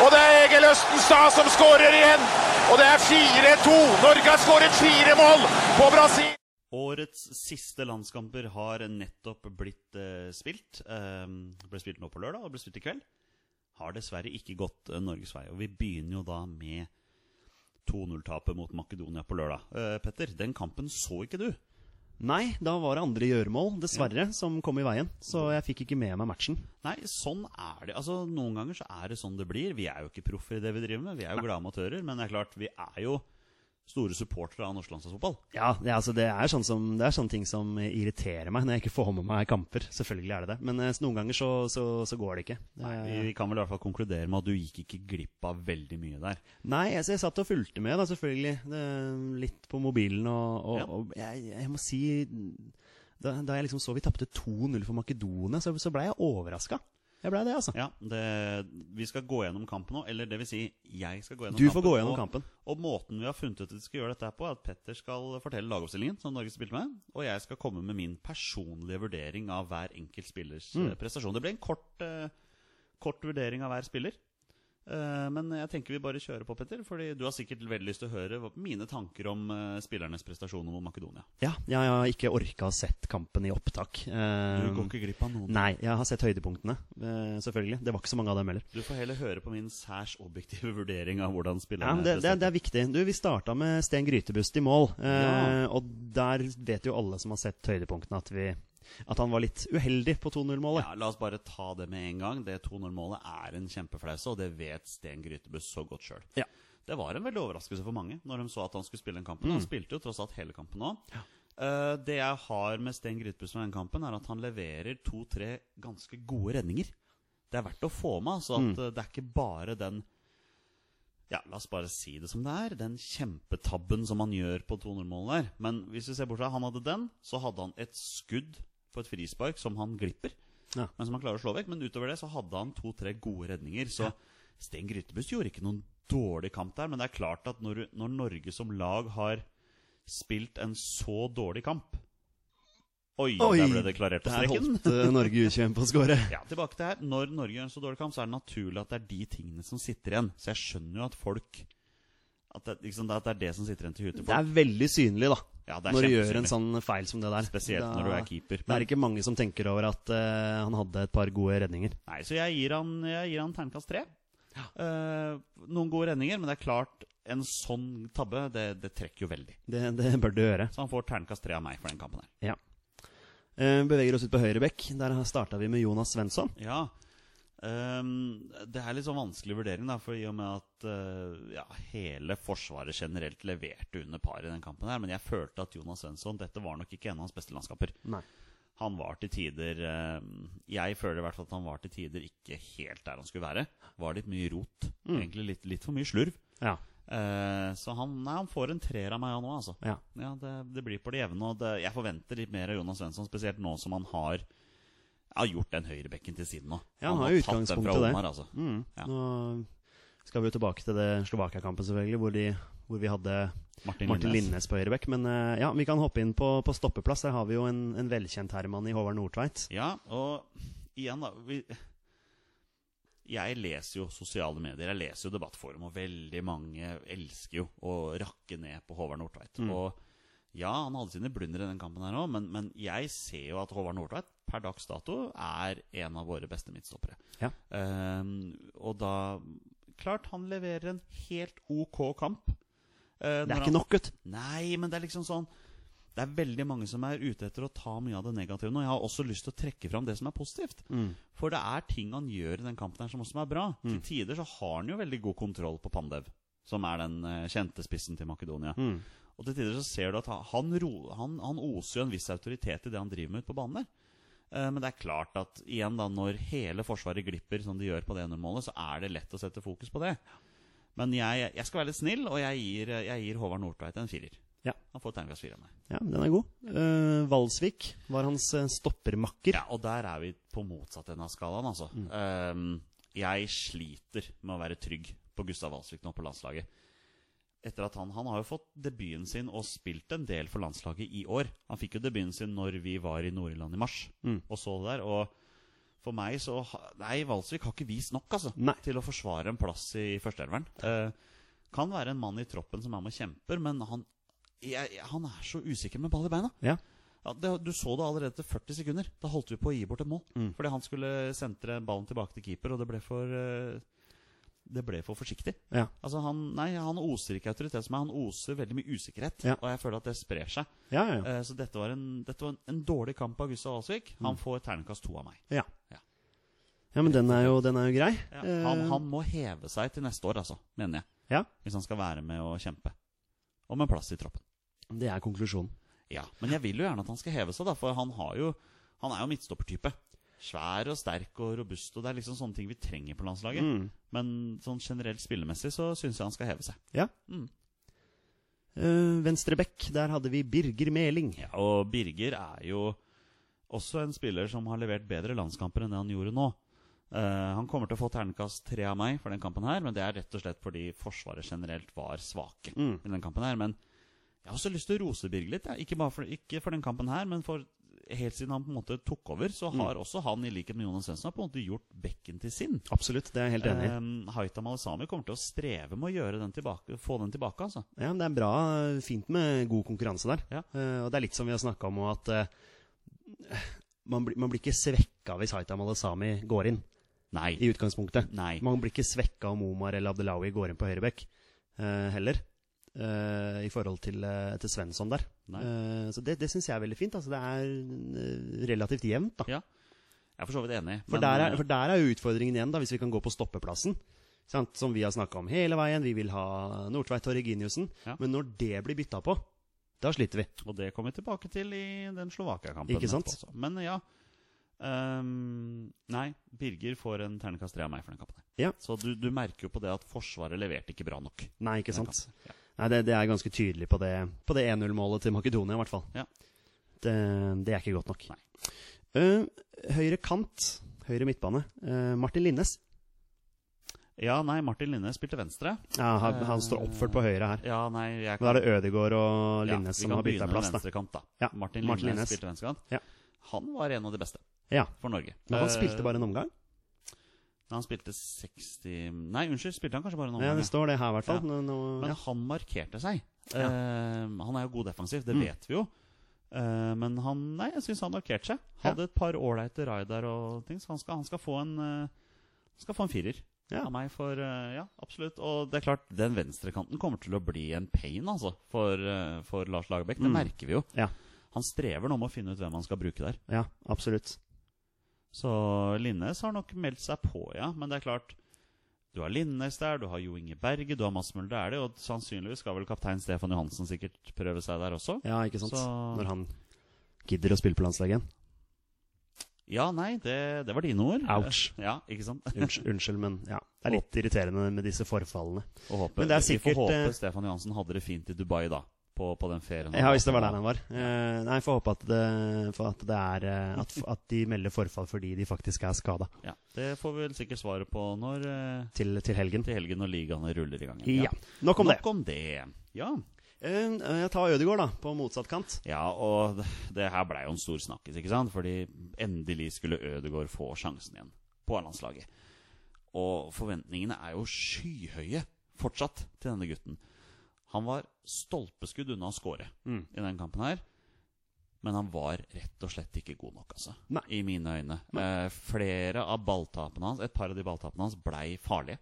Speaker 3: Og det er Egil Østenstad som skårer igjen. Og det er 4-2. Norge har skåret fire mål på Brasil.
Speaker 1: Årets siste landskamper har nettopp blitt eh, spilt. Um, ble spilt nå på lørdag og ble spilt i kveld. Har dessverre ikke gått eh, Norges vei. Og vi begynner jo da med 2-0-tapet mot Makedonia på lørdag. Eh, Petter, den kampen så ikke du.
Speaker 2: Nei, da var det andre gjøremål, dessverre, som kom i veien. Så jeg fikk ikke med meg matchen.
Speaker 1: Nei, sånn er det. Altså, Noen ganger så er det sånn det blir. Vi er jo ikke proffer i det vi driver med. Vi er jo glade amatører. Men det er klart, vi er jo store supportere av norsk landslagsfotball.
Speaker 2: Ja, det, er altså, det, er sånn som, det er sånne ting som irriterer meg når jeg ikke får med meg kamper. Selvfølgelig er det det. Men eh, noen ganger så, så, så går det ikke.
Speaker 1: Vi, vi kan vel i hvert fall konkludere med at du gikk ikke glipp av veldig mye der.
Speaker 2: Nei, altså, jeg satt og fulgte med, da, selvfølgelig. Det, litt på mobilen og, og,
Speaker 1: Ja.
Speaker 2: og jeg, jeg må si da, da jeg liksom så vi tapte 2-0 for Makedonia, så, så blei jeg overraska. Jeg blei det, altså.
Speaker 1: Ja, det, Vi skal gå gjennom kampen nå. Eller det vil si, jeg skal gå gjennom
Speaker 2: Du
Speaker 1: kampen.
Speaker 2: får gå gjennom
Speaker 1: og,
Speaker 2: kampen.
Speaker 1: Og måten vi har funnet ut at vi skal gjøre dette her på, er at Petter skal fortelle lagoppstillingen som Norge spilte med, og jeg skal komme med min personlige vurdering av hver enkelt spillers
Speaker 2: Mm.
Speaker 1: eh, prestasjon. Det ble en kort, eh, kort vurdering av hver spiller. Eh, Men jeg tenker vi bare kjører på, Petter. Fordi du har sikkert veldig lyst til å høre hva- mine tanker om eh, spillernes prestasjoner mot Makedonia.
Speaker 2: Ja, jeg har ikke orka å sett kampen i opptak.
Speaker 1: Du
Speaker 2: Eh,
Speaker 1: går ikke glipp av noen.
Speaker 2: Nei, jeg har sett høydepunktene, eh, selvfølgelig. Det var ikke så mange av dem heller.
Speaker 1: Du får heller høre på min særs objektive vurdering av hvordan
Speaker 2: Ja,
Speaker 1: spillerne
Speaker 2: men det, det, det er viktig. Du, Vi starta med Sten Grytebust i mål. Eh,
Speaker 1: Ja.
Speaker 2: Og der vet jo alle som har sett høydepunktene, at, vi, at han var litt uheldig på 2-0-målet.
Speaker 1: Ja, La oss bare ta det med en gang. Det 2-0-målet er en kjempeflause, og det vet Sten Grytebuss så godt sjøl.
Speaker 2: Ja.
Speaker 1: Det var en veldig overraskelse for mange når de så at han skulle spille den kampen. Han spilte jo tross alt hele kampen nå. Eh, det jeg har med Sten Grytebuss med den kampen, er at han leverer to-tre ganske gode redninger. Det er verdt å få med, så at eh, det er ikke bare den ja, la oss bare si det som det er. Den kjempetabben som han gjør på 200-målet der. Men hvis vi ser bort fra han hadde den, så hadde han et skudd på et frispark som han glipper.
Speaker 2: Ja.
Speaker 1: Men som han klarer å slå vekk. Men utover det så hadde han to-tre gode redninger. Så Sten Grytebust gjorde ikke noen dårlig kamp der. Men det er klart at når, du- når Norge som lag har spilt en så dårlig kamp Oi, der ble det klarert på
Speaker 2: Der
Speaker 1: streken.
Speaker 2: holdt eh, Norge U21 på å skåre.
Speaker 1: Ja, tilbake til her. Når Norge gjør en så dårlig kamp, så er det naturlig at det er de tingene som sitter igjen. Så jeg skjønner jo at folk At det, liksom, at det er det som sitter igjen til huet til
Speaker 2: Det
Speaker 1: folk.
Speaker 2: er veldig synlig, da.
Speaker 1: Ja, det er
Speaker 2: når du gjør en
Speaker 1: kjempesynlig.
Speaker 2: sånn feil som det der.
Speaker 1: Spesielt
Speaker 2: Da-
Speaker 1: når du er keeper.
Speaker 2: Det er ikke mange som tenker over at eh, han hadde et par gode redninger.
Speaker 1: Nei, Så jeg gir han, jeg gir han terningkast tre. Eh, noen gode redninger, men det er klart, en sånn tabbe, det, det trekker jo veldig.
Speaker 2: Det, det bør du gjøre.
Speaker 1: Så han får terningkast tre av meg for den kampen her.
Speaker 2: Ja. Eh, Beveger oss ut på høyre bekk. Der starta vi med Jonas Svensson.
Speaker 1: Ja. ehm, det er litt sånn vanskelig vurdering, da, for i og med at eh, ja, hele Forsvaret generelt leverte under par i den kampen her, men jeg følte at Jonas Svensson Dette var nok ikke en av hans beste landskamper.
Speaker 2: Nei.
Speaker 1: Han var til tider eh, Jeg føler i hvert fall at han var til tider ikke helt der han skulle være. Var litt mye rot. Egentlig litt, litt for mye slurv.
Speaker 2: Ja.
Speaker 1: Eh, så han, nei, han får en treer av meg han nå, altså.
Speaker 2: Ja.
Speaker 1: det, det blir på det jevne. Og det, jeg forventer litt mer av Jonas Svensson, spesielt nå som han har har gjort den høyrebekken til siden nå.
Speaker 2: Ja, han har jo
Speaker 1: tatt den fra
Speaker 2: utgangspunktet der. Mm.
Speaker 1: Omar, altså. Ja.
Speaker 2: Nå skal vi jo tilbake til det Slovakia-kampen, selvfølgelig, hvor, de, hvor vi hadde
Speaker 1: Martin,
Speaker 2: Martin
Speaker 1: Linnes.
Speaker 2: Lindnes på høyrebekk. Men eh, ja, vi kan hoppe inn på, på stoppeplass. Der har vi jo en, en velkjent herremann i Håvard Nordtveit.
Speaker 1: Ja, og igjen, da vi, Jeg leser jo sosiale medier, jeg leser jo debattforum, og veldig mange elsker jo å rakke ned på Håvard Nordtveit.
Speaker 2: Mm.
Speaker 1: Og ja, han hadde sine blunder i den kampen her òg, men, men jeg ser jo at Håvard Nordtveit per dags dato er en av våre beste midtstoppere.
Speaker 2: Ja.
Speaker 1: Ehm, og da Klart han leverer en helt ok kamp. Eh,
Speaker 2: Det
Speaker 1: når han-
Speaker 2: er ikke nok, gutt.
Speaker 1: Nei, men det er liksom sånn Det er veldig mange som er ute etter å ta mye av det negative nå. Jeg har også lyst til å trekke fram det som er positivt. For det er ting han gjør i den kampen her som også er bra. Til tider så har han jo veldig god kontroll på Pandev, som er den eh, kjente spissen til Makedonia. Og til tider så ser du at han, han, ro, han, han oser jo en viss autoritet i det han driver med ute på banen der. Eh, Men det er klart at igjen da, når hele Forsvaret glipper som de gjør på det målet, så er det lett å sette fokus på det. Men jeg, jeg skal være litt snill, og jeg gir, jeg gir Håvard Nordtveit en firer.
Speaker 2: Ja.
Speaker 1: Han får terningkast fire av meg.
Speaker 2: Ja, den er god. Eh, Valsvik var hans eh, stoppermakker.
Speaker 1: Ja, og der er vi på motsatt ende av skalaen, altså. Ehm, jeg sliter med å være trygg på Gustav Valsvik nå på landslaget. Etter at han, han har jo fått debuten sin og spilt en del for landslaget i år. Han fikk jo debuten sin når vi var i Nord-Irland i mars og så det der. Og for meg så ha- Nei, Valsvik har ikke vist nok altså,
Speaker 2: Nei.
Speaker 1: til å forsvare en plass i førsteelveren. Eh, kan være en mann i troppen som er med og kjemper, men han, jeg, jeg- han er så usikker med ball i beina.
Speaker 2: Ja.
Speaker 1: Ja, det, du så det allerede etter 40 sekunder. Da holdt
Speaker 2: Mm.
Speaker 1: vi på å gi bort et mål. Fordi han skulle sentre ballen tilbake til keeper, og det ble for eh, det ble for forsiktig.
Speaker 2: Ja.
Speaker 1: Altså han, nei, han oser ikke autoritet som meg, han oser veldig mye usikkerhet.
Speaker 2: Ja.
Speaker 1: Og jeg føler at det sprer seg.
Speaker 2: Ja, ja, ja.
Speaker 1: Eh, så dette var, en, dette var en, en dårlig kamp av Gustav Alsvik.
Speaker 2: Mm.
Speaker 1: Han får terningkast to av meg.
Speaker 2: ja.
Speaker 1: Ja.
Speaker 2: ja men den er jo, den er jo grei.
Speaker 1: Ja. Han,
Speaker 2: Eh,
Speaker 1: han må heve seg til neste år, altså, mener jeg.
Speaker 2: Ja,
Speaker 1: Hvis han skal være med og kjempe. Om en plass i troppen.
Speaker 2: det er konklusjonen.
Speaker 1: Ja, Men jeg vil jo gjerne at han skal heve seg, da, for han, har jo, han er jo midtstoppertype. Svær og sterk og robust, og det er liksom sånne ting vi trenger på landslaget. Men sånn generelt spillemessig så syns jeg han skal heve seg.
Speaker 2: Ja. Eh, venstre bekk, der hadde vi Birger Meling.
Speaker 1: Ja, og Birger er jo også en spiller som har levert bedre landskamper enn det han gjorde nå. Eh, han kommer til å få ternekast tre av meg for den kampen her, men det er rett og slett fordi Forsvaret generelt var svake
Speaker 2: Mm.
Speaker 1: i den kampen her. Men jeg har også lyst til å rose Birger litt. Jeg. Ikke bare for, ikke for den kampen her, men for helt siden han på en måte tok over, så har
Speaker 2: Mm.
Speaker 1: også han, i likhet med Jonas Svendsen, på en måte gjort bekken til sin.
Speaker 2: Absolutt, det er jeg helt enig i.
Speaker 1: Um, Haitam Alisami kommer til å streve med å gjøre den tilbake, få den tilbake, altså.
Speaker 2: Ja, men det er bra, eh, fint med god konkurranse der.
Speaker 1: Ja.
Speaker 2: Eh, og det er litt som vi har snakka om, og at eh, man, blir- man blir ikke svekka hvis Haitam Alasami går inn,
Speaker 1: Nei.
Speaker 2: i utgangspunktet.
Speaker 1: Nei.
Speaker 2: Man blir ikke svekka om Omar eller Abdelawi går inn på høyrebekk, eh, heller. eh, I forhold til, eh, til Svensson der.
Speaker 1: Nei.
Speaker 2: Eh, så det, det syns jeg er veldig fint. Altså, det er eh, relativt jevnt, da.
Speaker 1: Ja. Jeg er for så vidt enig.
Speaker 2: For,
Speaker 1: men- eh,
Speaker 2: der er, for der er jo utfordringen igjen, da, hvis vi kan gå på stoppeplassen. Sant? Som vi har snakka om hele veien. Vi vil ha Nordtveit og Reginiussen.
Speaker 1: Ja.
Speaker 2: Men når det blir bytta på, da sliter vi.
Speaker 1: Og det kommer vi tilbake til i den Slovakia-kampen.
Speaker 2: Ikke sant?
Speaker 1: etterpå også. Men ja. ehm, nei, Birger får en ternekast tre av meg for den kampen. her.
Speaker 2: Ja.
Speaker 1: Så du, du merker jo på det at Forsvaret leverte ikke bra nok.
Speaker 2: Nei, ikke sant?
Speaker 1: Den kampen. Ja.
Speaker 2: Nei, det, det er ganske tydelig på det, på det 1-0-målet til Makedonia, i hvert fall.
Speaker 1: Ja.
Speaker 2: Det, det er ikke godt nok.
Speaker 1: Nei.
Speaker 2: Eh, høyre kant, høyre midtbane. Eh, Martin Linnes.
Speaker 1: ja, nei, Martin Linne spilte venstre.
Speaker 2: Ja, han, han står oppført på høyre her.
Speaker 1: Ja, nei, jeg
Speaker 2: Men da er det Ødegaard og
Speaker 1: Ja,
Speaker 2: Linnes
Speaker 1: vi
Speaker 2: som
Speaker 1: kan
Speaker 2: har bytta
Speaker 1: begynne
Speaker 2: plass,
Speaker 1: med
Speaker 2: da.
Speaker 1: venstrekant, da.
Speaker 2: Ja,
Speaker 1: Martin Linne
Speaker 2: Martin Linnes.
Speaker 1: spilte venstrekant.
Speaker 2: Ja.
Speaker 1: Han var en av de beste
Speaker 2: Ja.
Speaker 1: for Norge.
Speaker 2: Men han
Speaker 1: Eh,
Speaker 2: spilte bare en omgang.
Speaker 1: Han spilte 60 Nei, unnskyld, spilte han kanskje bare en omgang?
Speaker 2: Ja,
Speaker 1: ja.
Speaker 2: det står det her, i hvert fall.
Speaker 1: Ja.
Speaker 2: Nå- nå-
Speaker 1: Men
Speaker 2: ja.
Speaker 1: han markerte seg. Eh, han er jo god defensiv,
Speaker 2: Mm.
Speaker 1: det vet vi jo. Eh, men han Nei, jeg syns han markerte seg. Hadde et par ålreite raid der og ting, så han skal, han skal få en eh, Skal få en firer
Speaker 2: Ja.
Speaker 1: av meg for eh, Ja, absolutt. Og det er klart, den venstrekanten kommer til å bli en pain, altså, for, eh, for Lars Lagerbäck. Det merker vi jo.
Speaker 2: Mm. Ja.
Speaker 1: Han strever nå med å finne ut hvem han skal bruke der.
Speaker 2: ja, absolutt.
Speaker 1: Så Linnes har nok meldt seg på, ja. Men det er klart Du har Linnes der, du har Jo Inge Berge, du har Mads Møller Dæhlie, og sannsynligvis skal vel kaptein Stefan Johansen sikkert prøve seg der også.
Speaker 2: Ja, ikke sant?
Speaker 1: Så-
Speaker 2: Når han gidder å spille på landslaget igjen.
Speaker 1: Ja, nei, det, det var dine ord.
Speaker 2: Ouch.
Speaker 1: Ja, ikke sant?
Speaker 2: Unnskyld, unnskyld, men ja. Det er litt irriterende med disse forfallene.
Speaker 1: Og håpe,
Speaker 2: Men det er
Speaker 1: Vi
Speaker 2: sikkert,
Speaker 1: får
Speaker 2: eh,
Speaker 1: håpe Stefan Johansen hadde det fint i Dubai, da. På, på den ferien.
Speaker 2: Ja, hvis det var der han var. Eh, Nei, får håpe at det, for at det er eh, at, at de melder forfall fordi de faktisk er skada
Speaker 1: Ja, det får vi vel sikkert svaret på når eh,
Speaker 2: til, til helgen.
Speaker 1: til helgen når ligaene ruller i gang. igjen.
Speaker 2: Ja. Nok om det.
Speaker 1: Nok om det. Ja.
Speaker 2: Eh, Jeg tar Ødegaard, da, på motsatt kant.
Speaker 1: Ja, og det her blei jo en stor snakkis, ikke sant? Fordi endelig skulle Ødegaard få sjansen igjen på landslaget. Og forventningene er jo skyhøye fortsatt til denne gutten. Han var stolpeskudd unna å score
Speaker 2: Mm.
Speaker 1: i den kampen her. Men han var rett og slett ikke god nok, altså.
Speaker 2: Nei.
Speaker 1: I mine øyne. Eh, flere av balltapene hans, et par av de balltapene hans, blei farlige.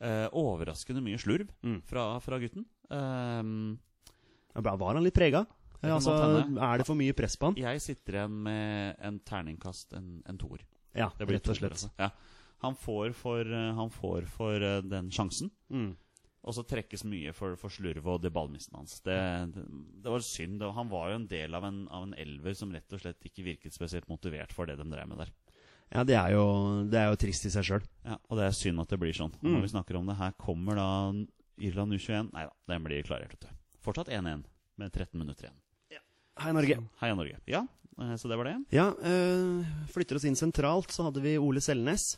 Speaker 1: Eh, overraskende mye slurv
Speaker 2: Mm.
Speaker 1: fra, fra gutten. Eh,
Speaker 2: Ja, bra, Var han litt prega?
Speaker 1: kan
Speaker 2: Altså,
Speaker 1: godt hende.
Speaker 2: er det for mye press på han?
Speaker 1: Jeg sitter igjen med en terningkast, en, en toer.
Speaker 2: Ja,
Speaker 1: Det blir
Speaker 2: rett og
Speaker 1: toer,
Speaker 2: slett.
Speaker 1: altså. Ja. Han får for, eh, han får for eh, den sjansen.
Speaker 2: Mm.
Speaker 1: Og så trekkes mye for, for slurvet og det ballmisten hans. Det, det, det var synd. og Han var jo en del av en, av en elver som rett og slett ikke virket spesielt motivert for det de drev med der.
Speaker 2: Ja, det er jo, det er jo trist i seg sjøl.
Speaker 1: Ja, og det er synd at det blir sånn. Og Når vi snakker om det, her kommer da Irland U21. Nei da, den blir klarert, vet du. Fortsatt 1-1 med 13 minutter igjen.
Speaker 2: Hei, Norge.
Speaker 1: Heia Norge. Ja, eh, så det var det.
Speaker 2: Ja, eh, flytter oss inn sentralt, så hadde vi Ole Selnes.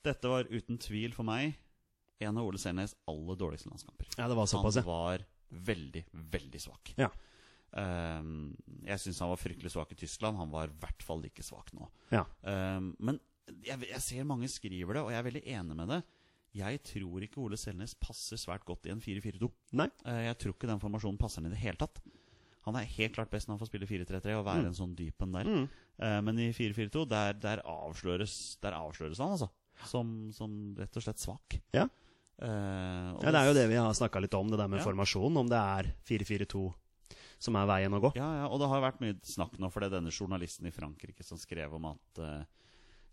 Speaker 1: Dette var uten tvil for meg en av Ole Selnes aller dårligste landskamper.
Speaker 2: Ja, det var såpass, ja.
Speaker 1: Han var veldig, veldig svak.
Speaker 2: Ja.
Speaker 1: Ehm, jeg syns han var fryktelig svak i Tyskland. Han var i hvert fall like svak nå.
Speaker 2: ja.
Speaker 1: Ehm, men jeg, jeg ser mange skriver det, og jeg er veldig enig med det. Jeg tror ikke Ole Selnes passer svært godt i en 4-4-2.
Speaker 2: Nei.
Speaker 1: Eh, Jeg tror ikke den formasjonen passer han i det hele tatt. Han er helt klart best når han får spille 4-3-3 og
Speaker 2: Mm.
Speaker 1: være en sånn dyp en der. Eh, Men i 4-4-2, der, der, avsløres, der avsløres han, altså. som, som rett og slett svak.
Speaker 2: Ja.
Speaker 1: Eh, og
Speaker 2: Ja, det er jo det vi har snakka litt om, det der med
Speaker 1: Ja.
Speaker 2: formasjonen. Om det er 4-4-2 som er veien å gå.
Speaker 1: Ja, ja, og det har vært mye snakk nå, for det er denne journalisten i Frankrike som skrev om at eh,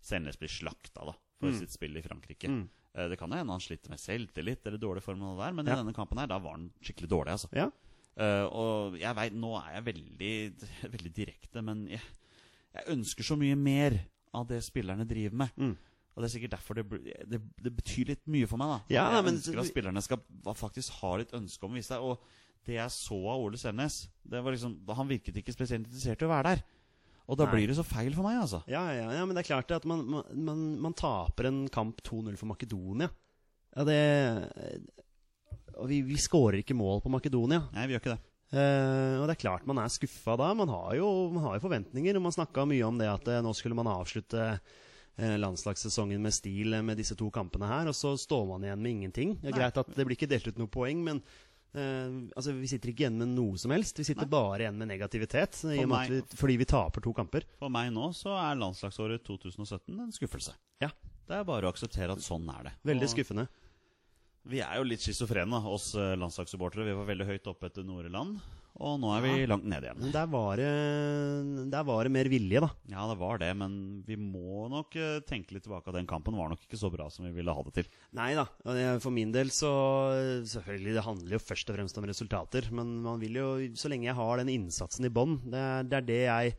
Speaker 1: Selnes blir slakta da, for
Speaker 2: Mm.
Speaker 1: sitt spill i Frankrike. Eh, det kan jo hende han sliter med selvtillit eller dårlig form, og det der, men i
Speaker 2: Ja.
Speaker 1: denne kampen her, da var han skikkelig dårlig. altså.
Speaker 2: Ja.
Speaker 1: Eh, og jeg vet, nå er jeg veldig, veldig direkte, men jeg, jeg ønsker så mye mer av det spillerne driver med.
Speaker 2: Mm.
Speaker 1: Og det er sikkert derfor det, blir- det, det betyr litt mye for meg. da.
Speaker 2: Ja,
Speaker 1: jeg
Speaker 2: nei, men-
Speaker 1: ønsker at spillerne skal hva faktisk ha litt ønske om å vise seg. Og det jeg så av Ole Selnes, det var liksom, han virket ikke spesielt interessert i å være der. Og da
Speaker 2: Nei.
Speaker 1: blir det så feil for meg, altså.
Speaker 2: Ja, ja, ja, men det er klart det at man, man, man, man taper en kamp 2-0 for Makedonia. Ja, det Og vi, vi skårer ikke mål på Makedonia.
Speaker 1: Nei, vi gjør ikke det.
Speaker 2: Eh, og det er klart man er skuffa da. Man har jo, man har jo forventninger. og Man snakka mye om det at eh, nå skulle man avslutte eh, landslagssesongen med stil eh, med disse to kampene her, og så står man igjen med ingenting. Det er
Speaker 1: Nei.
Speaker 2: greit at det blir ikke delt ut noen poeng, men eh, altså, vi sitter ikke igjen med noe som helst. Vi sitter bare igjen med negativitet eh, i
Speaker 1: For
Speaker 2: og med
Speaker 1: meg-
Speaker 2: at vi, fordi vi taper to kamper.
Speaker 1: For meg nå så er landslagsåret 2017 en skuffelse.
Speaker 2: Ja,
Speaker 1: Det er bare å akseptere at sånn er det.
Speaker 2: Veldig
Speaker 1: Og-
Speaker 2: skuffende.
Speaker 1: Vi er jo litt schizofrene, oss eh, landslagssupportere. Vi var veldig høyt oppe etter Noreland, og nå er vi langt ned igjen.
Speaker 2: Men der var det, der var det mer vilje, da.
Speaker 1: Ja, det var det, men vi må nok eh, tenke litt tilbake at den kampen var nok ikke så bra som vi ville ha det til.
Speaker 2: Nei da. og det- For min del så Selvfølgelig, det handler jo først og fremst om resultater. Men man vil jo, så lenge jeg har den innsatsen i bånn det, er- det er det jeg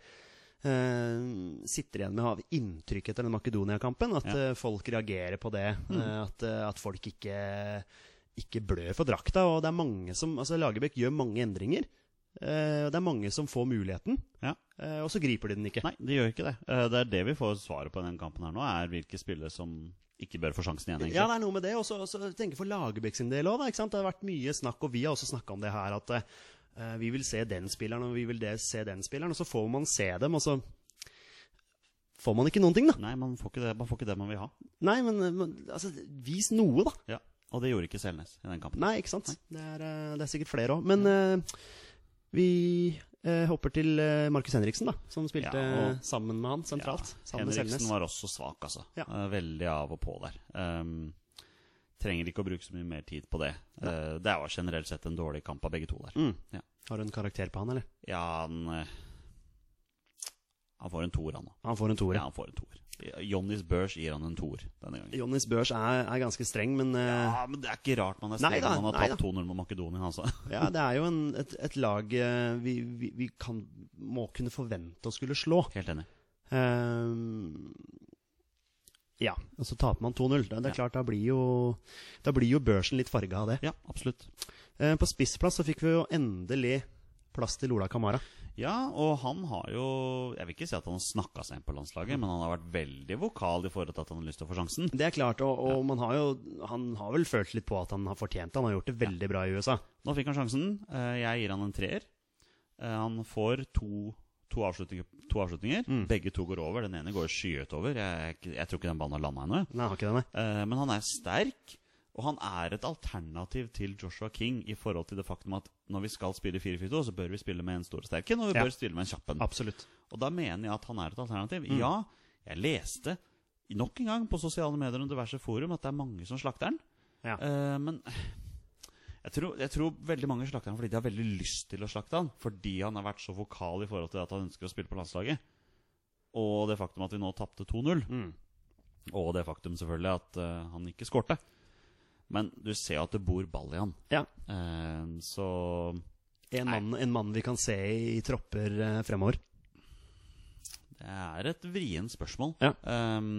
Speaker 2: eh, sitter igjen med av inntrykk etter den Makedonia-kampen. At
Speaker 1: Ja. Mm.
Speaker 2: eh, folk reagerer på det. eh, at, eh, at folk ikke, ikke blør for drakta. Og det er mange som Altså, Lagerbäck gjør mange endringer. eh, og det er mange som får muligheten,
Speaker 1: Ja.
Speaker 2: eh, og så griper de den ikke.
Speaker 1: Nei, det gjør ikke det. Eh, Det er det vi får svaret på i den kampen her nå, er hvilke spillere som ikke bør få sjansen igjen,
Speaker 2: Ja,
Speaker 1: egentlig.
Speaker 2: det er noe med det. Og så- så tenker jeg for Lagerbäck sin del òg. Det har vært mye snakk, og vi har også snakka om det her, at eh, vi vil se den spilleren, og vi vil det, se den spilleren. Og så får man se dem, og så får man ikke noen ting, da.
Speaker 1: Nei, man får ikke det man, får ikke det man vil ha.
Speaker 2: Nei, men, men altså, vis noe, da.
Speaker 1: Ja. Og det gjorde ikke Selnes i den kampen.
Speaker 2: Nei, ikke sant. Det er, eh, det er sikkert flere òg. Men eh, vi eh, hopper til eh, Markus Henriksen, da. Som spilte
Speaker 1: Ja, og-
Speaker 2: sammen med han sentralt. sammen med
Speaker 1: Henriksen
Speaker 2: Selnes.
Speaker 1: var også svak, altså.
Speaker 2: Ja.
Speaker 1: Eh, Veldig av og på der. Ehm, trenger ikke å bruke så mye mer tid på det. Eh, det var generelt sett en dårlig kamp av begge to der.
Speaker 2: Mm.
Speaker 1: Ja.
Speaker 2: Har du en karakter på han, eller?
Speaker 1: Ja, han eh, Han får en toer, han nå.
Speaker 2: Han får en toer.
Speaker 1: Ja,
Speaker 2: Ja.
Speaker 1: han får en toer. Johnnys Børs gir han en toer denne gangen.
Speaker 2: Johnnys Børs er, er ganske streng, men eh,
Speaker 1: Ja, men Det er ikke rart man er
Speaker 2: Nei
Speaker 1: streng
Speaker 2: da,
Speaker 1: når man
Speaker 2: nei
Speaker 1: har tapt 2-0 med Makedonia. Altså.
Speaker 2: Ja, det er jo en, et, et lag eh, vi, vi, vi kan, må kunne forvente å skulle slå.
Speaker 1: Helt enig.
Speaker 2: Ehm, ja, og så taper man 2-0. Det, det er
Speaker 1: Ja.
Speaker 2: klart, da blir jo, da blir jo børsen litt farga av det.
Speaker 1: Ja, absolutt.
Speaker 2: Eh, på spissplass så fikk vi jo endelig plass til Ola Kamara.
Speaker 1: Ja, og han har jo Jeg vil ikke si at han har snakka seg inn på landslaget, men han har vært veldig vokal i forhold til at han har lyst til å få sjansen.
Speaker 2: Det er klart, og, og man har jo, han har vel følt litt på at han har fortjent det. Han har gjort det veldig bra i USA.
Speaker 1: Nå fikk han sjansen. Eh, Jeg gir han en treer. Eh, Han får to, to avslutninger. To avslutninger.
Speaker 2: Mm.
Speaker 1: Begge to går over. Den ene går skyhøyt over. Jeg, er ikke- jeg tror ikke den ballen har landa ennå.
Speaker 2: Nei, han har ikke det, nei.
Speaker 1: Eh, Men han er sterk, og han er et alternativ til Joshua King i forhold til det faktum at når vi skal spille 4-4-2, så bør vi spille med en stor sterk en, og vi
Speaker 2: Ja.
Speaker 1: bør spille med en kjapp en.
Speaker 2: Absolutt.
Speaker 1: Og da mener jeg at han er et alternativ. Ja, jeg leste nok en gang på sosiale medier og diverse forum at det er mange som slakter den,
Speaker 2: Ja.
Speaker 1: Eh, men jeg tror, jeg tror veldig mange slakter han fordi de har veldig lyst til å slakte han. Fordi han har vært så vokal i forhold til at han ønsker å spille på landslaget. Og det faktum at vi nå tapte 2-0. Og det faktum selvfølgelig at eh, han ikke skårte. Men du ser jo at det bor ball i han.
Speaker 2: ja.
Speaker 1: Eh, så
Speaker 2: En, mann, en mann vi kan se i tropper eh, fremover.
Speaker 1: det er et vrient spørsmål.
Speaker 2: Ja.
Speaker 1: Eh,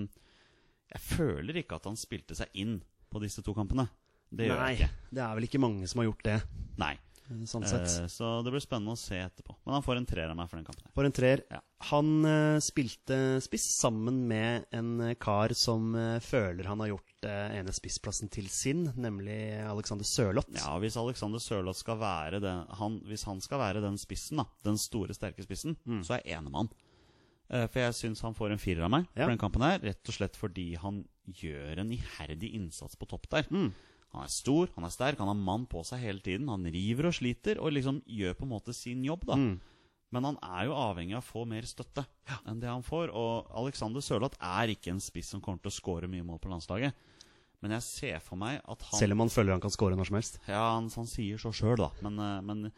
Speaker 1: jeg føler ikke at han spilte seg inn på disse to kampene. Det gjør
Speaker 2: nei,
Speaker 1: jeg ikke.
Speaker 2: det er vel ikke mange som har gjort det,
Speaker 1: Nei.
Speaker 2: eh, sånn sett.
Speaker 1: Eh, så det blir spennende å se etterpå. Men han får en treer av meg for den kampen. her.
Speaker 2: For en treer.
Speaker 1: Ja.
Speaker 2: Han eh, spilte spiss sammen med en eh, kar som eh, føler han har gjort eh, ene spissplassen til sin, nemlig Alexander Sørloth.
Speaker 1: Ja, hvis Alexander Sørloth skal være den, han, Hvis han skal være den spissen, da den store, sterke spissen,
Speaker 2: Mm.
Speaker 1: så er jeg enig med han. Eh, For jeg syns han får en firer av meg
Speaker 2: Ja.
Speaker 1: for den kampen her. Rett og slett fordi han gjør en iherdig innsats på topp der.
Speaker 2: Mm.
Speaker 1: Han er stor, han
Speaker 2: Mm.
Speaker 1: er sterk, han har mann på seg hele tiden. Han river og sliter og liksom gjør på en måte sin jobb, da. Men han er jo avhengig av å få mer støtte enn det han får. Og Alexander Sørloth er ikke en spiss som kommer til å skåre mye mål på landslaget. Men jeg ser for meg at han
Speaker 2: Selv om han føler han kan score når som helst.
Speaker 1: ja, han, han sier så sjøl, da. Men, eh, men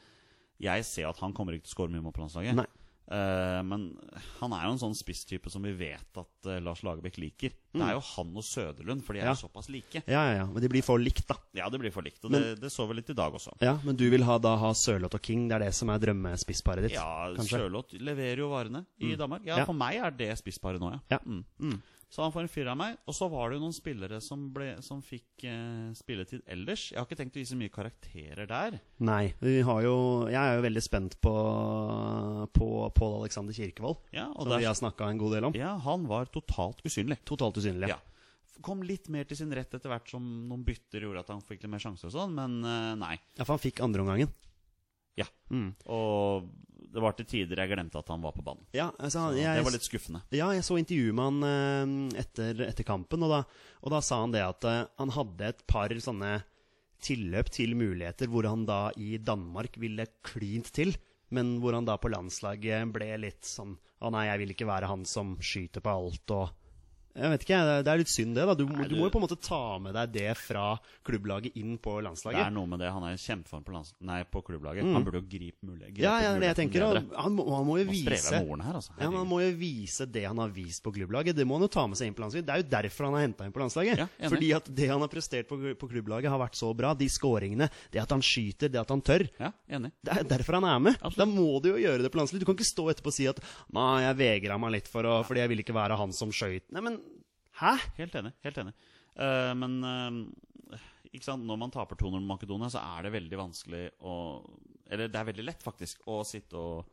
Speaker 1: jeg ser at han kommer ikke til å skåre mye mål på landslaget.
Speaker 2: Nei.
Speaker 1: Eh, men han er jo en sånn spisstype som vi vet at eh, Lars Lagerbäck liker. Det er jo han og Søderlund, for de er
Speaker 2: Ja.
Speaker 1: jo såpass like.
Speaker 2: Ja, ja, ja. Men de blir for likt, da.
Speaker 1: Ja, det blir for likt. Og
Speaker 2: Men-
Speaker 1: det, det så vi litt i dag også.
Speaker 2: Ja, Men du vil ha, da ha Sørloth og King? Det er det som er drømmespissparet ditt?
Speaker 1: Ja,
Speaker 2: kanskje?
Speaker 1: Sørloth leverer jo varene i Danmark. Mm. Ja,
Speaker 2: Ja.
Speaker 1: For meg er det spissparet nå, ja.
Speaker 2: Ja.
Speaker 1: Mm. Så han får en fyr av meg. Og så var det jo noen spillere som, ble, som fikk eh, spilletid ellers. Jeg har ikke tenkt å gi så mye karakterer der.
Speaker 2: Nei. Vi har jo, jeg er jo veldig spent på, på Pål Alexander Kirkevold,
Speaker 1: Ja, og
Speaker 2: som
Speaker 1: der-
Speaker 2: vi har snakka en god del om.
Speaker 1: Ja, han var totalt usynlig.
Speaker 2: Totalt usynlig.
Speaker 1: Ja. Kom litt mer til sin rett etter hvert som noen bytter gjorde at han fikk litt mer sjanser og sånn, men eh, nei.
Speaker 2: Ja, for han fikk andreomgangen.
Speaker 1: Ja. Og det var til tider jeg glemte at han var på banen.
Speaker 2: Ja, altså, han- jeg,
Speaker 1: det var litt skuffende.
Speaker 2: Ja, jeg så intervjuet med han eh, etter, etter kampen, og da, og da sa han det at eh, han hadde et par sånne tilløp til muligheter hvor han da i Danmark ville klint til, men hvor han da på landslaget ble litt sånn Å nei, jeg vil ikke være han som skyter på alt og Jeg vet ikke, det- det er litt synd det, da. Du, må-
Speaker 1: Nei,
Speaker 2: du
Speaker 1: du-
Speaker 2: må jo på en måte ta med deg det fra klubblaget inn
Speaker 1: Det
Speaker 2: på
Speaker 1: er
Speaker 2: landslaget.
Speaker 1: noe med det. Han er i kjempeform på, lands... nei, på klubblaget. Han burde jo gripe mulighet.
Speaker 2: Ja, ja, det er det jeg tenker. Og han, må, han må jo
Speaker 1: Nå strever
Speaker 2: vise
Speaker 1: jeg med ordene her, altså.
Speaker 2: Ja, men Han
Speaker 1: Herregud.
Speaker 2: må jo vise det han har vist på klubblaget. Det må han jo ta med seg inn på landslaget. Det er jo derfor han er henta inn på landslaget.
Speaker 1: Ja, enig.
Speaker 2: Fordi at det han har prestert på, på klubblaget, har vært så bra. De scoringene, det at han skyter, det at han tør.
Speaker 1: Ja, enig.
Speaker 2: Det er derfor han er med.
Speaker 1: Absolutt.
Speaker 2: Da må du jo gjøre det på landslaget. Du kan ikke stå etterpå og si at 'Nei, jeg vegra meg litt for å, fordi jeg ville ikke være han som skøyt'. Nei, men hæ?
Speaker 1: Helt enig. helt enig. Eh, men eh, ikke sant? når man taper 2-0 mot Makedonia, så er det veldig vanskelig å Eller det er veldig lett, faktisk, å sitte og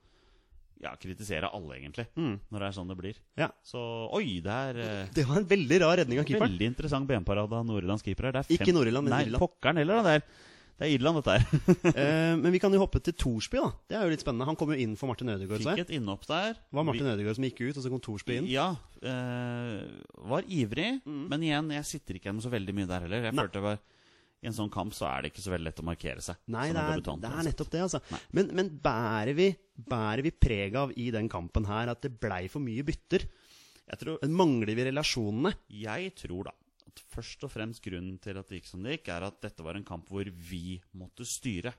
Speaker 1: ja, kritisere alle, egentlig.
Speaker 2: Mm.
Speaker 1: Når det er sånn det blir.
Speaker 2: Ja.
Speaker 1: Så oi, det er eh,
Speaker 2: Det var en veldig rar redning av keeperen.
Speaker 1: veldig interessant benparade av Nord-Irlands keeper her. Det er
Speaker 2: Ikke Nord-Irland, men
Speaker 1: Nei,
Speaker 2: Irland.
Speaker 1: Pokkeren heller, da. Det er, det er Irland, dette her.
Speaker 2: Eh, men vi kan jo hoppe til Thorsby, da. Det er jo litt spennende. Han kom jo inn for Martin Ødegaard. sa
Speaker 1: Fikk
Speaker 2: jeg.
Speaker 1: et innhopp der.
Speaker 2: Det var Martin Ødegaard som gikk ut, og så kom Thorsby inn.
Speaker 1: Ja. eh, var ivrig, men igjen, jeg sitter ikke igjen med så veldig mye der heller. Jeg
Speaker 2: Mm. Nei.
Speaker 1: følte det var I en sånn kamp så er det ikke så veldig lett å markere seg.
Speaker 2: Nei,
Speaker 1: som
Speaker 2: det
Speaker 1: en
Speaker 2: er,
Speaker 1: debutant,
Speaker 2: det er
Speaker 1: altså.
Speaker 2: nettopp det, altså. Men, men bærer vi, bærer vi preg av i den kampen her at det blei for mye bytter?
Speaker 1: altså. Jeg tror,
Speaker 2: Men mangler vi relasjonene?
Speaker 1: jeg tror da at først og fremst grunnen til at det gikk som det gikk, er at dette var en kamp hvor vi måtte styre.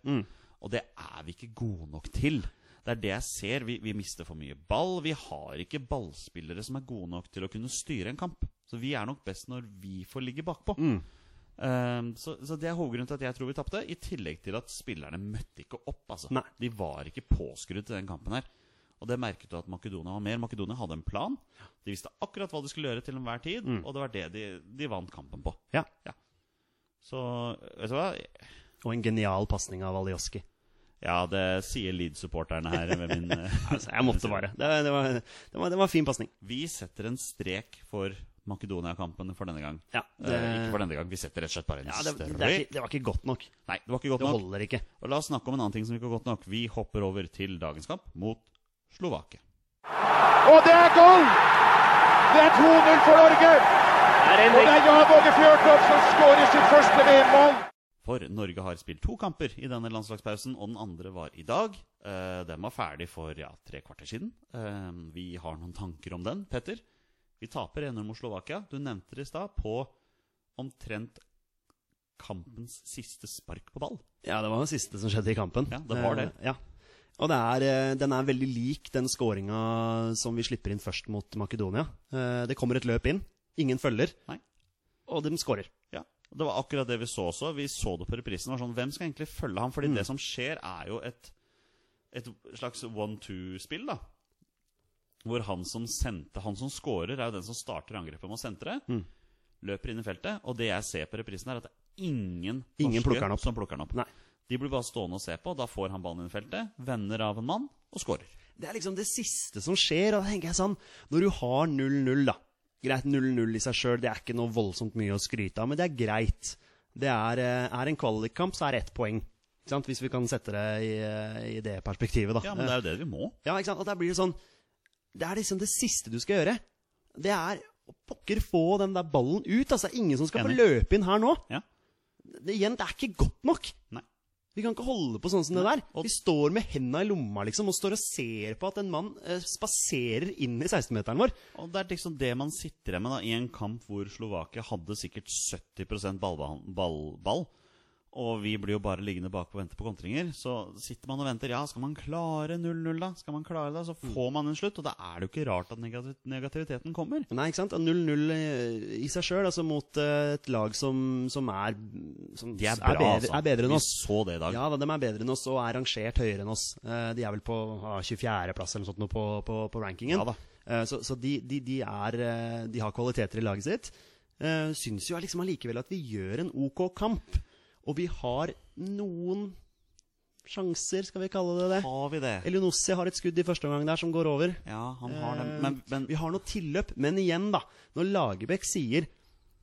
Speaker 1: Og det er vi ikke gode nok til. Det er det jeg ser. Vi, vi mister for mye ball. Vi har ikke ballspillere som er gode nok til å kunne styre en kamp. Så vi er nok best når vi får ligge bakpå. Ehm, så, så det er hovedgrunnen til at jeg tror vi tapte. I tillegg til at spillerne møtte ikke opp. Altså.
Speaker 2: Nei.
Speaker 1: De var ikke påskrudd til den kampen her. Og det merket du at Makedonia var mer. Makedonia hadde en plan. De visste akkurat hva de skulle gjøre til enhver tid,
Speaker 2: Mm.
Speaker 1: og det var det de, de vant kampen på.
Speaker 2: Ja.
Speaker 1: Så vet du hva?
Speaker 2: Og en genial pasning av Alioski.
Speaker 1: Ja, det sier Leeds-supporterne her. Ved min, eh,
Speaker 2: Altså, jeg måtte bare. Det, det, var, det, var, det var en fin pasning.
Speaker 1: vi setter en strek for Makedonia-kampen for denne gang.
Speaker 2: Ja,
Speaker 1: Eh, ikke
Speaker 2: det,
Speaker 1: for denne gang, vi setter rett og slett bare en
Speaker 2: ja, det, det,
Speaker 1: strek.
Speaker 2: er ikke- det var ikke godt nok.
Speaker 1: Nei, det var ikke godt
Speaker 2: Det
Speaker 1: nok.
Speaker 2: holder ikke.
Speaker 1: Og la oss snakke om en annen ting som ikke var godt nok. Vi hopper over til dagens kamp mot Slovakia.
Speaker 3: Og det er goal! Det er 2-0 for Norge. Og det er Jan Åge Fjørtoft som skårer sitt første VM-mål.
Speaker 1: For Norge har spilt to kamper i denne landslagspausen, og den andre var i dag. Eh, den var ferdig for ja, tre kvarter siden. Eh, vi har noen tanker om den, Petter. Vi taper 1-0 mot Slovakia. Du nevnte det i stad, på omtrent kampens siste spark på ball.
Speaker 2: Ja, det var det siste som skjedde i kampen.
Speaker 1: Ja, det var det.
Speaker 2: Eh, Ja. Og det er, eh, den er veldig lik den skåringa som vi slipper inn først mot Makedonia. Eh, Det kommer et løp inn, ingen følger,
Speaker 1: Nei.
Speaker 2: og de skårer.
Speaker 1: Ja, og Det var akkurat det vi så også. Vi så det på reprisen. Det var sånn, Hvem skal egentlig følge ham? Fordi
Speaker 2: Mm.
Speaker 1: det som skjer, er jo et, et slags one-two-spill. da Hvor han som sendte, han som scorer, er jo den som starter angrepet med å sentre.
Speaker 2: Mm.
Speaker 1: Løper inn i feltet. Og det jeg ser på reprisen, er at det er ingen,
Speaker 2: Ingen
Speaker 1: norske
Speaker 2: plukker han opp.
Speaker 1: som plukker han opp.
Speaker 2: Nei.
Speaker 1: De blir bare stående og se på. og Da får han ballen inn i feltet, vender av en mann og scorer.
Speaker 2: Det er liksom det siste som skjer, og da tenker jeg sånn Når du har 0-0, da Greit, 0-0 i seg sjøl, det er ikke noe voldsomt mye å skryte av, men det er greit. Det er, eh, er en kvalikkamp, så er det ett poeng. Ikke sant? Hvis vi kan sette det i, eh, i det perspektivet, da.
Speaker 1: Ja, men det er jo det vi må.
Speaker 2: Ja, ikke sant? Og der blir det sånn Det er liksom det siste du skal gjøre. Det er å pokker få den der ballen ut. Altså, det er ingen som skal få
Speaker 1: Enig.
Speaker 2: løpe inn her nå.
Speaker 1: Ja.
Speaker 2: Det, igjen, det er ikke godt nok.
Speaker 1: Nei.
Speaker 2: Vi kan ikke holde på sånn som det der.
Speaker 1: og-
Speaker 2: Vi står med henda i lomma liksom, og står og ser på at en mann eh, spaserer inn i 16-meteren vår.
Speaker 1: Og Det er liksom det man sitter igjen med da, i en kamp hvor Slovakia hadde sikkert 70 ballball, ball, ball. Og vi blir jo bare liggende bak og vente på kontringer. Så sitter man og venter. Ja, skal man klare 0-0, da? Skal man klare det? Så
Speaker 2: Mm.
Speaker 1: får man en slutt, og da er det jo ikke rart at negativ negativiteten kommer.
Speaker 2: Nei, ikke sant? Og 0-0 i- i seg sjøl, altså mot eh, et lag som, som er Som
Speaker 1: De er bra,
Speaker 2: bedre,
Speaker 1: altså.
Speaker 2: er bedre enn oss.
Speaker 1: Vi så det i dag.
Speaker 2: Ja, da, de er bedre enn oss og er rangert høyere enn oss. Eh, De er vel på 24.-plass eller noe sånt nå på, på, på rankingen.
Speaker 1: Ja da.
Speaker 2: Eh, Så, så de, de, de, er, eh, de har kvaliteter i laget sitt. Eh, Syns jo liksom allikevel at vi gjør en OK kamp. Og vi har noen sjanser, skal vi kalle det det.
Speaker 1: Har vi det?
Speaker 2: Elionossi har et skudd i første omgang der som går over.
Speaker 1: Ja, han har det. Men, men
Speaker 2: Eh, Vi har noe tilløp, men igjen, da. Når Lagerbäck sier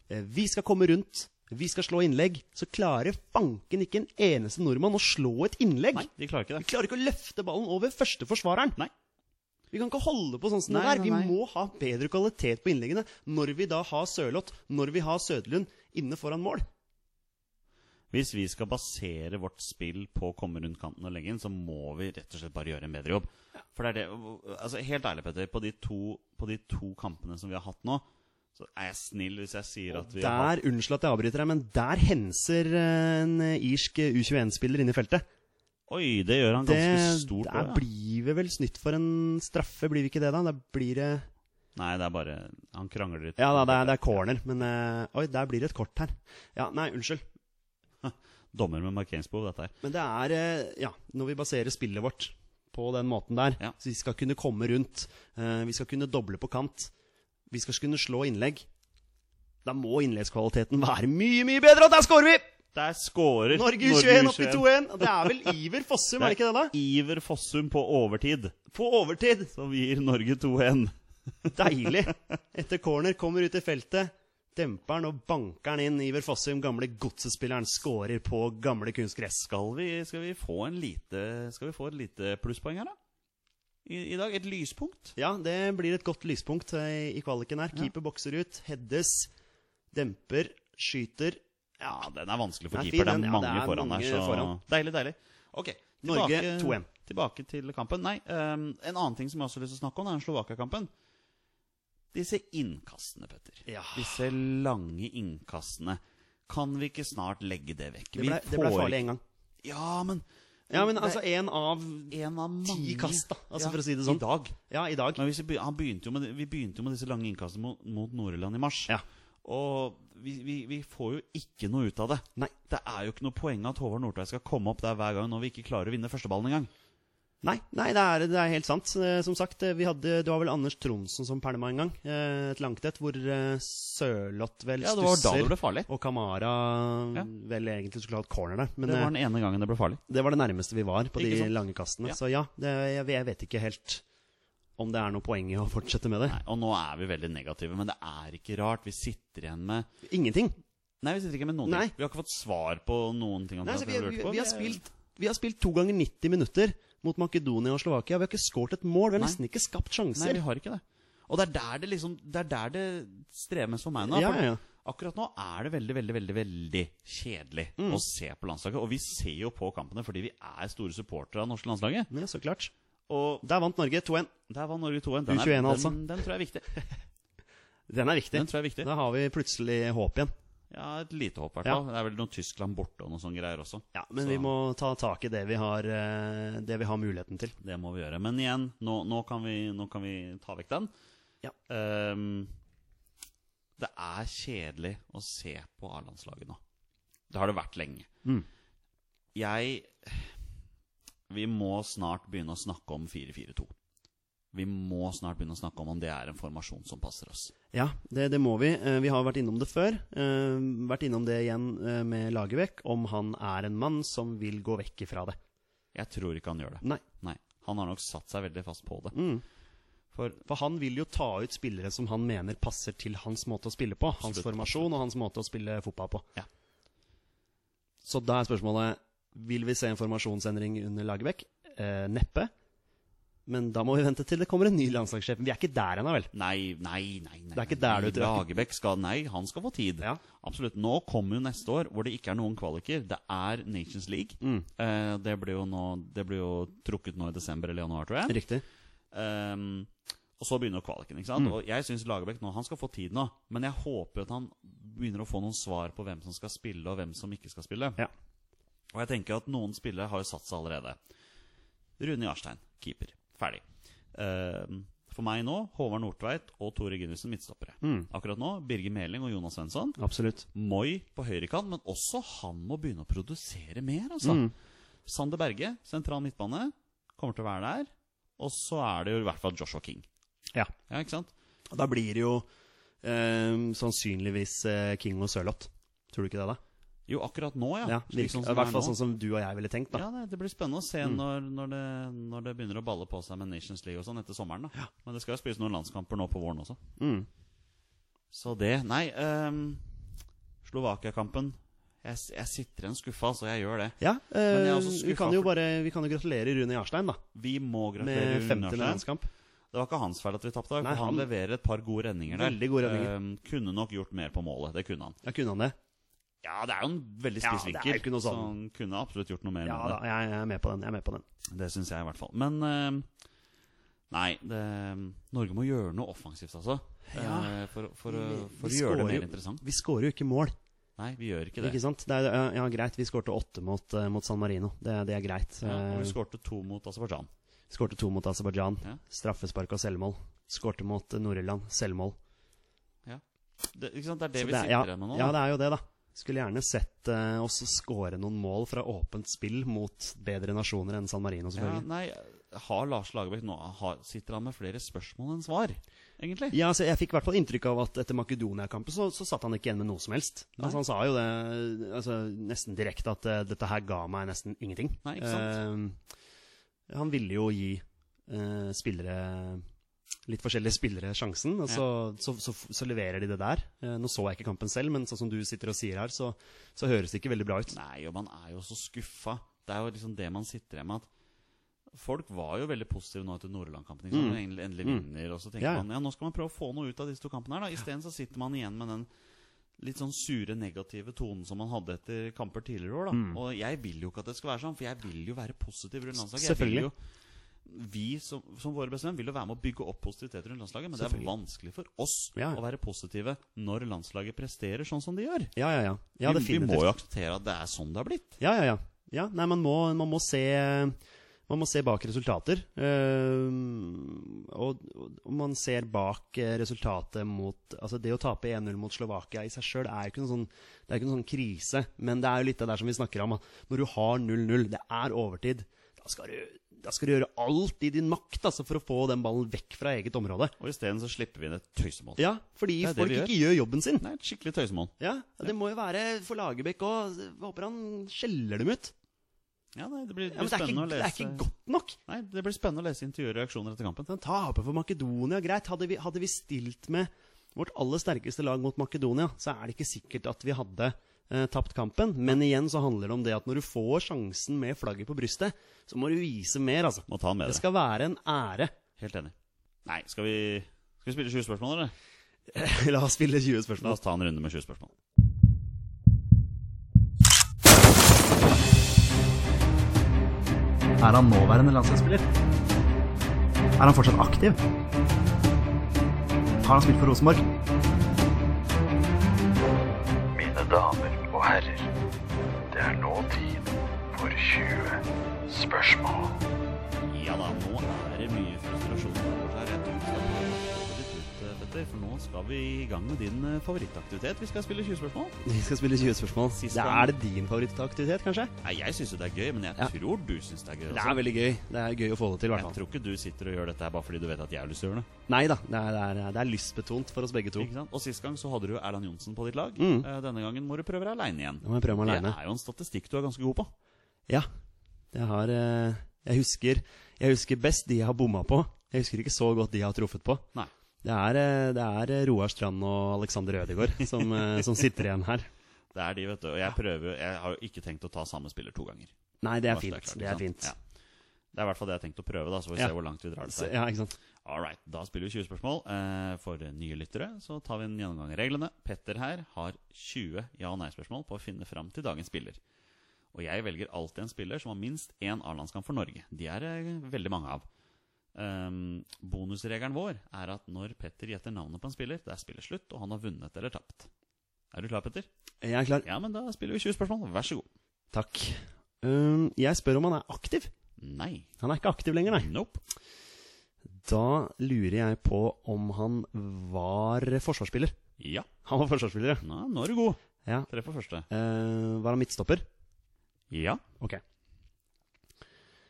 Speaker 2: eh, vi skal komme rundt, vi skal slå innlegg, så klarer fanken ikke en eneste nordmann å slå et innlegg.
Speaker 1: Nei, de klarer ikke
Speaker 2: Vi
Speaker 1: det.
Speaker 2: klarer ikke å løfte ballen over førsteforsvareren.
Speaker 1: Nei.
Speaker 2: Vi kan ikke holde på sånn som
Speaker 1: Nei,
Speaker 2: det der.
Speaker 1: nei,
Speaker 2: Vi
Speaker 1: nei.
Speaker 2: må ha bedre kvalitet på innleggene når vi da har Sørloth, når vi har Søderlund inne foran mål.
Speaker 1: Hvis vi skal basere vårt spill på å komme rundt kanten og legge inn, så må vi rett og slett bare gjøre en bedre jobb. For det er det altså Helt ærlig, Petter. På de to, på de to kampene som vi har hatt nå, så er jeg snill hvis jeg sier at vi har
Speaker 2: Der, Unnskyld at jeg avbryter deg, men der henser eh, en eh, irsk eh, U21-spiller inn i feltet.
Speaker 1: Oi, det gjør han
Speaker 2: Det,
Speaker 1: ganske stort.
Speaker 2: der
Speaker 1: også, ja.
Speaker 2: blir vi vel snytt for en straffe, blir vi ikke det da? Da blir det
Speaker 1: Nei, det er bare Han krangler litt.
Speaker 2: Ja da, det er, det er corner, men eh, Oi, der blir det et kort her. Ja, nei, unnskyld.
Speaker 1: Dommer med markeringsbehov, dette her.
Speaker 2: Men det er eh, Ja, når vi baserer spillet vårt på den måten der,
Speaker 1: Ja.
Speaker 2: så vi skal kunne komme rundt, eh, vi skal kunne doble på kant, vi skal kunne slå innlegg Da må innleggskvaliteten være mye, mye bedre, og der scorer vi!
Speaker 1: Der scorer
Speaker 2: Norge U21 opp i 2-1. og Det er vel Iver Fossum, er det ikke det, da?
Speaker 1: Iver Fossum på overtid,
Speaker 2: På overtid!
Speaker 1: som gir Norge 2-1.
Speaker 2: Deilig. Etter corner, kommer ut i feltet. Demper den og banker den inn. Iver Fossum, gamle godsespilleren, scorer på gamle kunstgress.
Speaker 1: Skal vi, skal vi få en lite Skal vi få et lite plusspoeng her, da? I, I dag? Et lyspunkt?
Speaker 2: Ja, det blir et godt lyspunkt eh, i kvaliken her. Keeper bokser ut, heades, demper, skyter.
Speaker 1: Ja, den er vanskelig for
Speaker 2: Den er
Speaker 1: keeper.
Speaker 2: fin, den.
Speaker 1: det
Speaker 2: Ja,
Speaker 1: er mange
Speaker 2: det er
Speaker 1: foran
Speaker 2: mange
Speaker 1: her. Så...
Speaker 2: foran.
Speaker 1: Deilig, deilig. Ok,
Speaker 2: Norge
Speaker 1: tilbake-
Speaker 2: 2-1.
Speaker 1: Tilbake til kampen. Nei, ehm, en annen ting som jeg også har lyst til å snakke om, er den Slovakia-kampen. Disse innkastene, Petter.
Speaker 2: Ja.
Speaker 1: Disse lange innkastene. Kan vi ikke snart legge det vekk?
Speaker 2: Det ble, det ble farlig én gang.
Speaker 1: Ja, men
Speaker 2: Ja, men altså én av
Speaker 1: en av mange
Speaker 2: ti kast, da. Altså,
Speaker 1: Ja,
Speaker 2: for å si det sånn.
Speaker 1: I dag.
Speaker 2: Ja, i dag.
Speaker 1: Men hvis vi, be- han begynte jo med, vi begynte jo med disse lange innkastene mot, mot Nord-Irland i mars.
Speaker 2: Ja.
Speaker 1: Og vi, vi, vi får jo ikke noe ut av det.
Speaker 2: Nei.
Speaker 1: Det er jo ikke noe poeng at Håvard Nordtveit skal komme opp der hver gang når vi ikke klarer å vinne førsteballen engang.
Speaker 2: Nei, nei det, er, det er helt sant. Eh, Som sagt, eh, vi hadde, det var vel Anders Tronsen som pælma en gang. eh, Et langt et hvor eh, Sørloth vel
Speaker 1: Ja, det var da
Speaker 2: stusser.
Speaker 1: det ble farlig.
Speaker 2: Og Kamara
Speaker 1: Ja.
Speaker 2: vel egentlig skulle ha et corner der. Men
Speaker 1: Det
Speaker 2: eh,
Speaker 1: var den ene gangen det ble farlig.
Speaker 2: det nærmeste vi var på
Speaker 1: Ikke
Speaker 2: de
Speaker 1: sant?
Speaker 2: lange kastene.
Speaker 1: Ja.
Speaker 2: Så ja, det, jeg, jeg vet ikke helt om det er noe poeng i å fortsette med det.
Speaker 1: Nei, og nå er vi veldig negative, men det er ikke rart. Vi sitter igjen med
Speaker 2: Ingenting.
Speaker 1: Nei, vi sitter ikke med noen
Speaker 2: Nei.
Speaker 1: ting. Vi har ikke fått svar på noen ting. omtrent
Speaker 2: Nei, altså,
Speaker 1: det
Speaker 2: vi, vi,
Speaker 1: lurte på.
Speaker 2: vi, har
Speaker 1: Det-
Speaker 2: spilt, vi har spilt to ganger 90 minutter mot Makedonia og Slovakia. Vi har ikke skåret et mål. Vi har
Speaker 1: Nei.
Speaker 2: nesten ikke skapt
Speaker 1: Nei,
Speaker 2: sjanser.
Speaker 1: vi har ikke det. Og det er der det liksom Det er der det streves for meg nå.
Speaker 2: Ja,
Speaker 1: for
Speaker 2: ja, ja.
Speaker 1: Akkurat nå er det veldig, veldig veldig, veldig kjedelig
Speaker 2: Mm.
Speaker 1: å se på landslaget. Og vi ser jo på kampene fordi vi er store supportere av det norske landslaget.
Speaker 2: Men ja, så klart.
Speaker 1: Og
Speaker 2: Der vant Norge 2-1.
Speaker 1: der var Norge 2-1. Den, er-
Speaker 2: U21 altså.
Speaker 1: den, den tror jeg er viktig.
Speaker 2: Den er viktig.
Speaker 1: Den tror jeg er viktig.
Speaker 2: Da har vi plutselig håp igjen.
Speaker 1: Ja, Et lite håp, i hvert
Speaker 2: Ja.
Speaker 1: fall. Det er vel noe Tyskland borte og noe sånn greier også.
Speaker 2: Ja, men
Speaker 1: Så-
Speaker 2: vi må ta tak i det vi har, eh, det vi har muligheten til.
Speaker 1: Det må vi gjøre. Men igjen, nå, nå, kan, vi, nå kan vi ta vekk den.
Speaker 2: Ja.
Speaker 1: Ehm, det er kjedelig å se på A-landslaget nå. Det har det vært lenge.
Speaker 2: Mm.
Speaker 1: Jeg Vi må snart begynne å snakke om 4-4-2. Vi må snart begynne å snakke om om det er en formasjon som passer oss.
Speaker 2: Ja, det, det må vi. Eh, Vi har vært innom det før. eh, Vært innom det igjen eh, med Lagerbäck, om han er en mann som vil gå vekk ifra det.
Speaker 1: Jeg tror ikke han gjør det.
Speaker 2: Nei.
Speaker 1: Nei. Han har nok satt seg veldig fast på det.
Speaker 2: Mm.
Speaker 1: For
Speaker 2: For han vil jo ta ut spillere som han mener passer til hans måte å spille på. Hans
Speaker 1: Absolutt.
Speaker 2: formasjon og hans måte å spille fotball på.
Speaker 1: Ja.
Speaker 2: Så da er spørsmålet Vil vi se en formasjonsendring under Lagerbäck? Eh, neppe. Men da må vi vente til det kommer en ny landslagssjef. Vi er ikke der ennå, vel?
Speaker 1: Nei, nei, nei. nei.
Speaker 2: Det er ikke der du tror jeg.
Speaker 1: Lagerbäck skal Nei, han skal få tid.
Speaker 2: Ja.
Speaker 1: Absolutt. Nå kommer jo neste år, hvor det ikke er noen kvaliker. Det er Nations League. Eh, det, blir jo nå, det blir jo trukket nå i desember eller januar, tror jeg.
Speaker 2: Riktig.
Speaker 1: Ehm, og så begynner jo kvaliken. ikke sant? Og jeg syns Lagerbäck nå, han skal få tid nå. Men jeg håper at han begynner å få noen svar på hvem som skal spille, og hvem som ikke skal spille.
Speaker 2: Ja.
Speaker 1: Og jeg tenker at noen spillere har jo satt seg allerede. Rune Jarstein, keeper. Ferdig. Ehm, for meg nå, Håvard Nordtveit og Tore Ginnussen, midtstoppere. Akkurat nå, Birger Meling og Jonas Svensson.
Speaker 2: Absolutt.
Speaker 1: Moi på høyrekant, men også han må begynne å produsere mer, altså.
Speaker 2: Mm.
Speaker 1: Sander Berge, sentral midtbane, kommer til å være der. Og så er det jo i hvert fall Joshua King.
Speaker 2: Ja.
Speaker 1: Ja, ikke sant?
Speaker 2: Og da blir det jo eh, sannsynligvis eh, King og Sørloth. Tror du ikke det, da?
Speaker 1: Jo, akkurat nå, ja.
Speaker 2: Ja,
Speaker 1: Slik
Speaker 2: virker,
Speaker 1: sånn som
Speaker 2: I
Speaker 1: det
Speaker 2: hvert
Speaker 1: er
Speaker 2: fall
Speaker 1: nå.
Speaker 2: sånn som Mm. du og jeg ville tenkt, da.
Speaker 1: Ja, det, det blir spennende å se når, når, det, når det begynner å balle på seg med Nations League og sånn etter sommeren. da Men det skal jo spilles noen landskamper nå på våren også.
Speaker 2: Mm.
Speaker 1: Så det Nei, ehm, Slovakia-kampen jeg, s- jeg sitter igjen skuffa, så jeg gjør det.
Speaker 2: Ja,
Speaker 1: Men jeg er
Speaker 2: eh,
Speaker 1: også
Speaker 2: vi,
Speaker 1: skuffa
Speaker 2: kan jo
Speaker 1: for-
Speaker 2: bare, vi kan jo gratulere Rune Jarstein, da.
Speaker 1: Vi må gratulere
Speaker 2: Med altså.
Speaker 1: Rune
Speaker 2: 50.
Speaker 1: Jarstein.
Speaker 2: landskamp.
Speaker 1: Det var ikke hans feil at vi tapte. for
Speaker 2: Nei,
Speaker 1: han,
Speaker 2: han-
Speaker 1: leverer et par gode redninger der.
Speaker 2: Veldig gode redninger.
Speaker 1: Ehm, kunne nok gjort mer på målet. Det kunne han.
Speaker 2: Ja, kunne han det?
Speaker 1: Ja, det er jo en veldig
Speaker 2: Ja,
Speaker 1: spiss vinkel.
Speaker 2: det er jo ikke noe
Speaker 1: så
Speaker 2: sånn.
Speaker 1: han kunne absolutt gjort noe mer
Speaker 2: Ja
Speaker 1: med
Speaker 2: da,
Speaker 1: det.
Speaker 2: jeg er med på den. Jeg er med på den.
Speaker 1: Det syns jeg i hvert fall. Men ehm, Nei, det, ehm, Norge må gjøre noe offensivt, altså. Eh, for for, å- for å
Speaker 2: Vi
Speaker 1: gjøre det
Speaker 2: skårer
Speaker 1: mer
Speaker 2: jo-
Speaker 1: interessant.
Speaker 2: Vi skårer jo ikke mål,
Speaker 1: Nei, vi gjør ikke det.
Speaker 2: ikke sant? Det er, ja, ja, greit, vi skårte åtte mot, eh, mot San Marino. Det, det er greit.
Speaker 1: Ja, og
Speaker 2: Eh,
Speaker 1: vi skårte to mot Aserbajdsjan.
Speaker 2: Skårte to mot Aserbajdsjan.
Speaker 1: Ja.
Speaker 2: Straffespark og selvmål. Skårte mot eh, Nord-Irland. Selvmål.
Speaker 1: Ja. Det, ikke sant? det er det, vi
Speaker 2: Det er-
Speaker 1: sitter
Speaker 2: ja,
Speaker 1: igjen med nå.
Speaker 2: Ja,
Speaker 1: da.
Speaker 2: det er jo det, da. Skulle gjerne sett eh, oss skåre noen mål fra åpent spill mot bedre nasjoner enn San Marino,
Speaker 1: ja,
Speaker 2: selvfølgelig.
Speaker 1: nei, har Lars Lagerbäck nå har, Sitter han med flere spørsmål enn svar, egentlig?
Speaker 2: Ja, altså, Jeg fikk i hvert fall inntrykk av at etter Makedonia-kampen så, så satt han ikke igjen med noe som helst. Altså, han sa jo det eh, altså, nesten direkte at eh, 'dette her ga meg nesten ingenting'.
Speaker 1: Nei, ikke sant?
Speaker 2: Eh, han ville jo gi eh, spillere Litt forskjellige spillere sjansen, og så, så, så, så leverer de det der. Eh, nå så jeg ikke kampen selv, men sånn som du sitter og sier her, så, så høres det ikke veldig bra ut.
Speaker 1: Nei, og man er jo så skuffa. Det er jo liksom det man sitter igjen med. at Folk var jo veldig positive nå etter Nordland-kampen. Liksom, når England Endelig vinner. Og så tenker
Speaker 2: Mm. Ja, ja.
Speaker 1: man ja, nå skal man prøve å få noe ut av disse to kampene. her da Isteden så sitter man igjen med den litt sånn sure, negative tonen som man hadde etter kamper tidligere år. da
Speaker 2: Mm.
Speaker 1: Og jeg vil jo ikke at det skal være sånn, for jeg vil jo være positiv rundt landslaget. Jeg vil
Speaker 2: Selvfølgelig.
Speaker 1: jo, vi som, som våre bestemenn vil jo være med å bygge opp positivitet rundt landslaget, men det er
Speaker 2: Selvfølgelig.
Speaker 1: vanskelig for oss
Speaker 2: Ja.
Speaker 1: å være positive når landslaget presterer sånn som de gjør.
Speaker 2: Ja, ja, ja. ja
Speaker 1: vi, vi
Speaker 2: definitivt.
Speaker 1: må jo akseptere at det er sånn det har blitt.
Speaker 2: Ja, ja, ja. ja nei, man må, man må se man må se bak resultater. Ehm, og, og man ser bak eh, resultatet mot Altså, det å tape 1-0 mot Slovakia i seg sjøl er jo ikke noen sånn, det er ikke noen sånn krise. Men det er jo litt av det der som vi snakker om. at Når du har 0-0, det er overtid, da skal, du, da skal du gjøre alt i din makt altså, for å få den ballen vekk fra eget område.
Speaker 1: Og isteden så slipper vi inn et tøysemål.
Speaker 2: Ja, fordi
Speaker 1: Det er det
Speaker 2: folk
Speaker 1: vi gjør.
Speaker 2: ikke gjør jobben sin.
Speaker 1: Nei, et skikkelig tøysemål.
Speaker 2: Ja, Det må jo være for Lagerbäck òg. Håper han skjeller dem ut.
Speaker 1: Ja, nei, det blir,
Speaker 2: Ja, men det er,
Speaker 1: spennende
Speaker 2: ikke,
Speaker 1: å
Speaker 2: det
Speaker 1: lese
Speaker 2: er ikke godt nok.
Speaker 1: Nei, det blir spennende å lese intervjuer og reaksjoner etter kampen.
Speaker 2: Han taper for Makedonia, greit. Hadde vi, hadde vi stilt med vårt aller sterkeste lag mot Makedonia, så er det ikke sikkert at vi hadde eh, tapt kampen. Men igjen så handler det om det at når du får sjansen med flagget på brystet, så må du vise mer, altså.
Speaker 1: Må ta den med
Speaker 2: Det
Speaker 1: deg.
Speaker 2: skal være en ære.
Speaker 1: Helt enig. Nei, skal vi, skal vi spille 20 spørsmål, eller?
Speaker 2: La oss spille 20
Speaker 1: La
Speaker 2: spørsmål.
Speaker 1: oss ta en runde med 20 spørsmål.
Speaker 2: Er han nåværende landslagsspiller? Er han fortsatt aktiv? Har han spilt for Rosenborg?
Speaker 4: Mine damer og herrer, det er nå tid for 20 spørsmål.
Speaker 1: Ja da, nå er det mye frustrasjon over her. Jeg tror vi skal prøve å få det litt ut, eh, Petter, for nå skal vi i gang med din eh, favorittaktivitet. Vi skal spille 20 spørsmål.
Speaker 2: Vi skal spille 20 spørsmål.
Speaker 1: Sist
Speaker 2: Det
Speaker 1: gang.
Speaker 2: er det din favorittaktivitet, kanskje?
Speaker 1: Nei, jeg syns jo det er gøy, men jeg
Speaker 2: Ja.
Speaker 1: tror du syns det er gøy.
Speaker 2: Det er veldig gøy. Det er gøy å få det til, i hvert fall.
Speaker 1: Jeg tror ikke du sitter og gjør dette her bare fordi du vet at jeg har lyst til å gjøre det.
Speaker 2: Nei da, det er, det er, det er lystbetont for oss begge to.
Speaker 1: Ikke sant? Og Sist gang så hadde du jo Erland Johnsen på ditt lag.
Speaker 2: Mm.
Speaker 1: Eh, Denne gangen må du prøve deg aleine igjen.
Speaker 2: Da må jeg prøve meg
Speaker 1: Det
Speaker 2: aleine.
Speaker 1: er jo en statistikk du er ganske god på.
Speaker 2: Ja. Jeg har eh, Jeg husker Jeg husker best de jeg har bomma på. Jeg husker ikke så godt de jeg har truffet på.
Speaker 1: Nei.
Speaker 2: Det er, eh, det er eh, Roar Strand og Alexander Ødegaard som, eh, som sitter igjen her.
Speaker 1: Det er de, vet du. Og jeg prøver jo Jeg har jo ikke tenkt å ta samme spiller to ganger.
Speaker 2: Nei, det
Speaker 1: Bare
Speaker 2: er
Speaker 1: så
Speaker 2: fint.
Speaker 1: klart,
Speaker 2: Det
Speaker 1: ikke
Speaker 2: er
Speaker 1: sant?
Speaker 2: fint.
Speaker 1: Ja. Det er i hvert fall det jeg har tenkt å prøve, da, så får vi
Speaker 2: Ja.
Speaker 1: se hvor langt vi drar det.
Speaker 2: Så-
Speaker 1: her.
Speaker 2: Ja, ikke sant?
Speaker 1: All right, da spiller vi 20 spørsmål. Eh, For nye lyttere så tar vi en gjennomgang av reglene. Petter her har 20 ja- og nei-spørsmål på å finne fram til dagens spiller. Og jeg velger alltid en spiller som har minst én A-landskamp for Norge. De er det veldig mange av. Um, bonusregelen vår er at når Petter gjetter navnet på en spiller, det er spillet slutt, og han har vunnet eller tapt. Er du klar, Petter?
Speaker 2: Jeg er klar.
Speaker 1: Ja, men da spiller vi 20 spørsmål. Vær så god.
Speaker 2: Takk. Um, jeg spør om han er aktiv.
Speaker 1: Nei.
Speaker 2: Han er ikke aktiv lenger, nei.
Speaker 1: Nope.
Speaker 2: Da lurer jeg på om han var forsvarsspiller.
Speaker 1: Ja.
Speaker 2: Han var forsvarsspiller, ja.
Speaker 1: Nå, nå er du god.
Speaker 2: ja.
Speaker 1: Tre på første.
Speaker 2: Eh, var han midtstopper?
Speaker 1: Ja.
Speaker 2: Ok.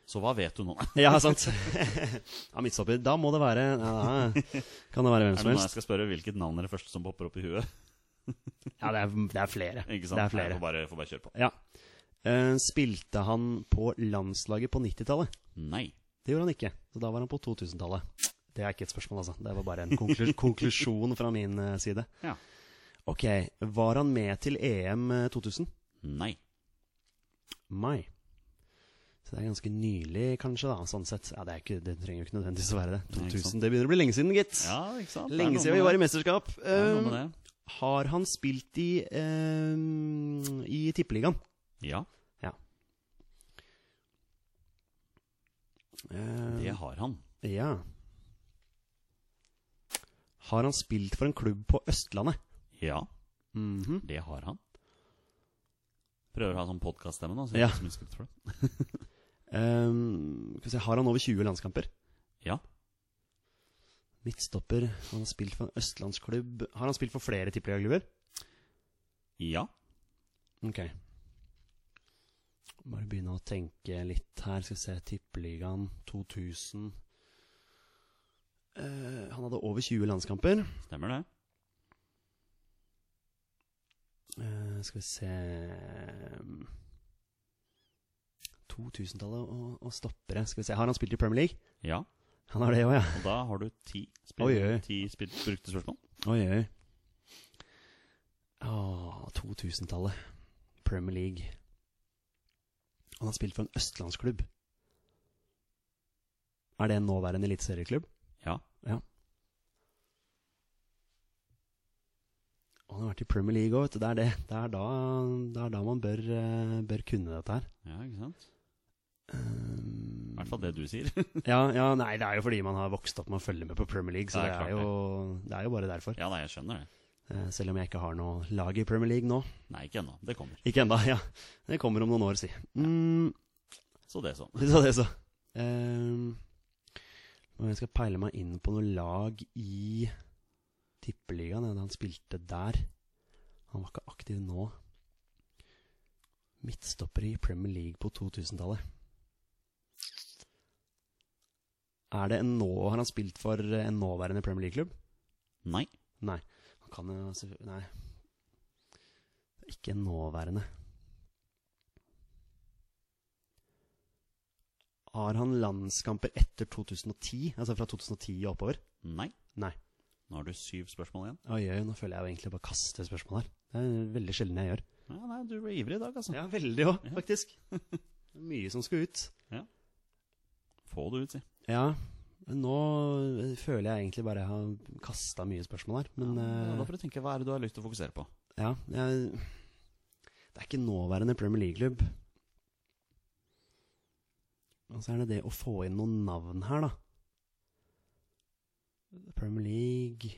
Speaker 1: Så hva vet du nå?
Speaker 2: Ja, sant. ja, midtstopper. Da må det være ja, da Kan det være hvem
Speaker 1: Er
Speaker 2: som
Speaker 1: det nå jeg
Speaker 2: helst?
Speaker 1: skal spørre hvilket navn er det første som popper opp i huet?
Speaker 2: Ja, det er, det er flere.
Speaker 1: Ikke sant?
Speaker 2: Det er
Speaker 1: Nei,
Speaker 2: flere.
Speaker 1: Får bare, får bare kjøre på.
Speaker 2: Ja. Eh, spilte han på landslaget på 90-tallet?
Speaker 1: Nei.
Speaker 2: Det gjorde han ikke. Så da var han på 2000-tallet. Det er ikke et spørsmål, altså. Det var bare en konklu- konklusjon fra min eh, side.
Speaker 1: Ja.
Speaker 2: Ok. Var han med til E eh, EM 2000?
Speaker 1: Nei.
Speaker 2: mai. Så det er ganske nylig, kanskje, da, sånn sett. Ja, det, er ikke, det trenger jo ikke nødvendigvis å være det.
Speaker 1: Nei, ikke
Speaker 2: 2000,
Speaker 1: sant.
Speaker 2: det begynner å bli lenge siden, gitt.
Speaker 1: Ja, ikke sant? Det er
Speaker 2: lenge
Speaker 1: noe
Speaker 2: siden
Speaker 1: med
Speaker 2: vi var i
Speaker 1: det.
Speaker 2: mesterskap.
Speaker 1: Det er noe med
Speaker 2: Eh,
Speaker 1: det.
Speaker 2: har han spilt i eh, i Tippeligaen?
Speaker 1: Ja,
Speaker 2: Ja. Eh,
Speaker 1: det har han.
Speaker 2: Ehm, ja. Har han spilt for en klubb på Østlandet?
Speaker 1: Ja,
Speaker 2: Mhm.
Speaker 1: det har han. Prøver å ha sånn podkaststemme nå, så
Speaker 2: Ja.
Speaker 1: jeg ikke så mye skutt for det.
Speaker 2: Eh, skal vi se, har han over 20 landskamper?
Speaker 1: Ja.
Speaker 2: Midtstopper. Han har spilt for en østlandsklubb. Har han spilt for flere tippeligaklubber?
Speaker 1: Ja.
Speaker 2: Ok. Bare begynne å tenke litt her. Skal vi se Tippeligaen 2000 Eh, Han hadde over 20 landskamper.
Speaker 1: Stemmer det.
Speaker 2: Eh, skal vi se eh, 2000-tallet og, og stoppere. Skal vi se. Har han spilt i Premier League?
Speaker 1: Ja.
Speaker 2: Han har det òg, ja.
Speaker 1: Og da har du ti, spill,
Speaker 2: Oi, oi.
Speaker 1: ti spill, brukte spørsmål.
Speaker 2: Oi, oi. Åh, 2000-tallet. Premier League. Han har spilt for en østlandsklubb. Er det en nåværende eliteserieklubb?
Speaker 1: Ja.
Speaker 2: Ja. Og han har vært i Premier League òg, vet du. Det er, det. Det er, da, det er da man bør, eh, bør kunne dette her.
Speaker 1: ja, ikke sant?
Speaker 2: Um,
Speaker 1: I hvert fall det du sier.
Speaker 2: ja, ja, nei, det er jo fordi man har vokst opp med å følge med på Premier League, så
Speaker 1: Det
Speaker 2: det
Speaker 1: er
Speaker 2: er,
Speaker 1: klart det.
Speaker 2: jo, det er jo bare derfor.
Speaker 1: ja, nei, jeg skjønner det.
Speaker 2: Eh, Selv om jeg ikke har noe lag i Premier League nå.
Speaker 1: Nei, ikke ennå. Det kommer.
Speaker 2: Ikke ennå, ja. Det kommer om noen år, si. Mm,
Speaker 1: Så det er sånn.
Speaker 2: så det, så. Um, jeg skal peile meg inn på noe lag i Tippeligaen, ja, da han spilte der. Han var ikke aktiv nå. Midtstopper i Premier League på 2000-tallet. Er det en nå, Har han spilt for en nåværende Premier League-klubb?
Speaker 1: Nei.
Speaker 2: Nei. Han kan jo altså, Nei. Ikke nåværende. Har han landskamper etter 2010? Altså fra 2010 og oppover?
Speaker 1: Nei.
Speaker 2: Nei.
Speaker 1: Nå har du syv spørsmål igjen.
Speaker 2: Oi, oi, nå føler jeg jo egentlig bare kaster spørsmål her. Det er veldig sjelden jeg gjør.
Speaker 1: Ja, nei, du ble ivrig i dag, altså.
Speaker 2: Ja, veldig òg, faktisk. Det er Mye som skal ut.
Speaker 1: Få det ut, si.
Speaker 2: Ja. men Nå føler jeg egentlig bare jeg har kasta mye spørsmål her, men
Speaker 1: ja,
Speaker 2: eh,
Speaker 1: da får du tenke hva er det du har lyst til å fokusere på.
Speaker 2: Ja, jeg, det er ikke nåværende Premier League-klubb. Og så er det det å få inn noen navn her, da. Premier League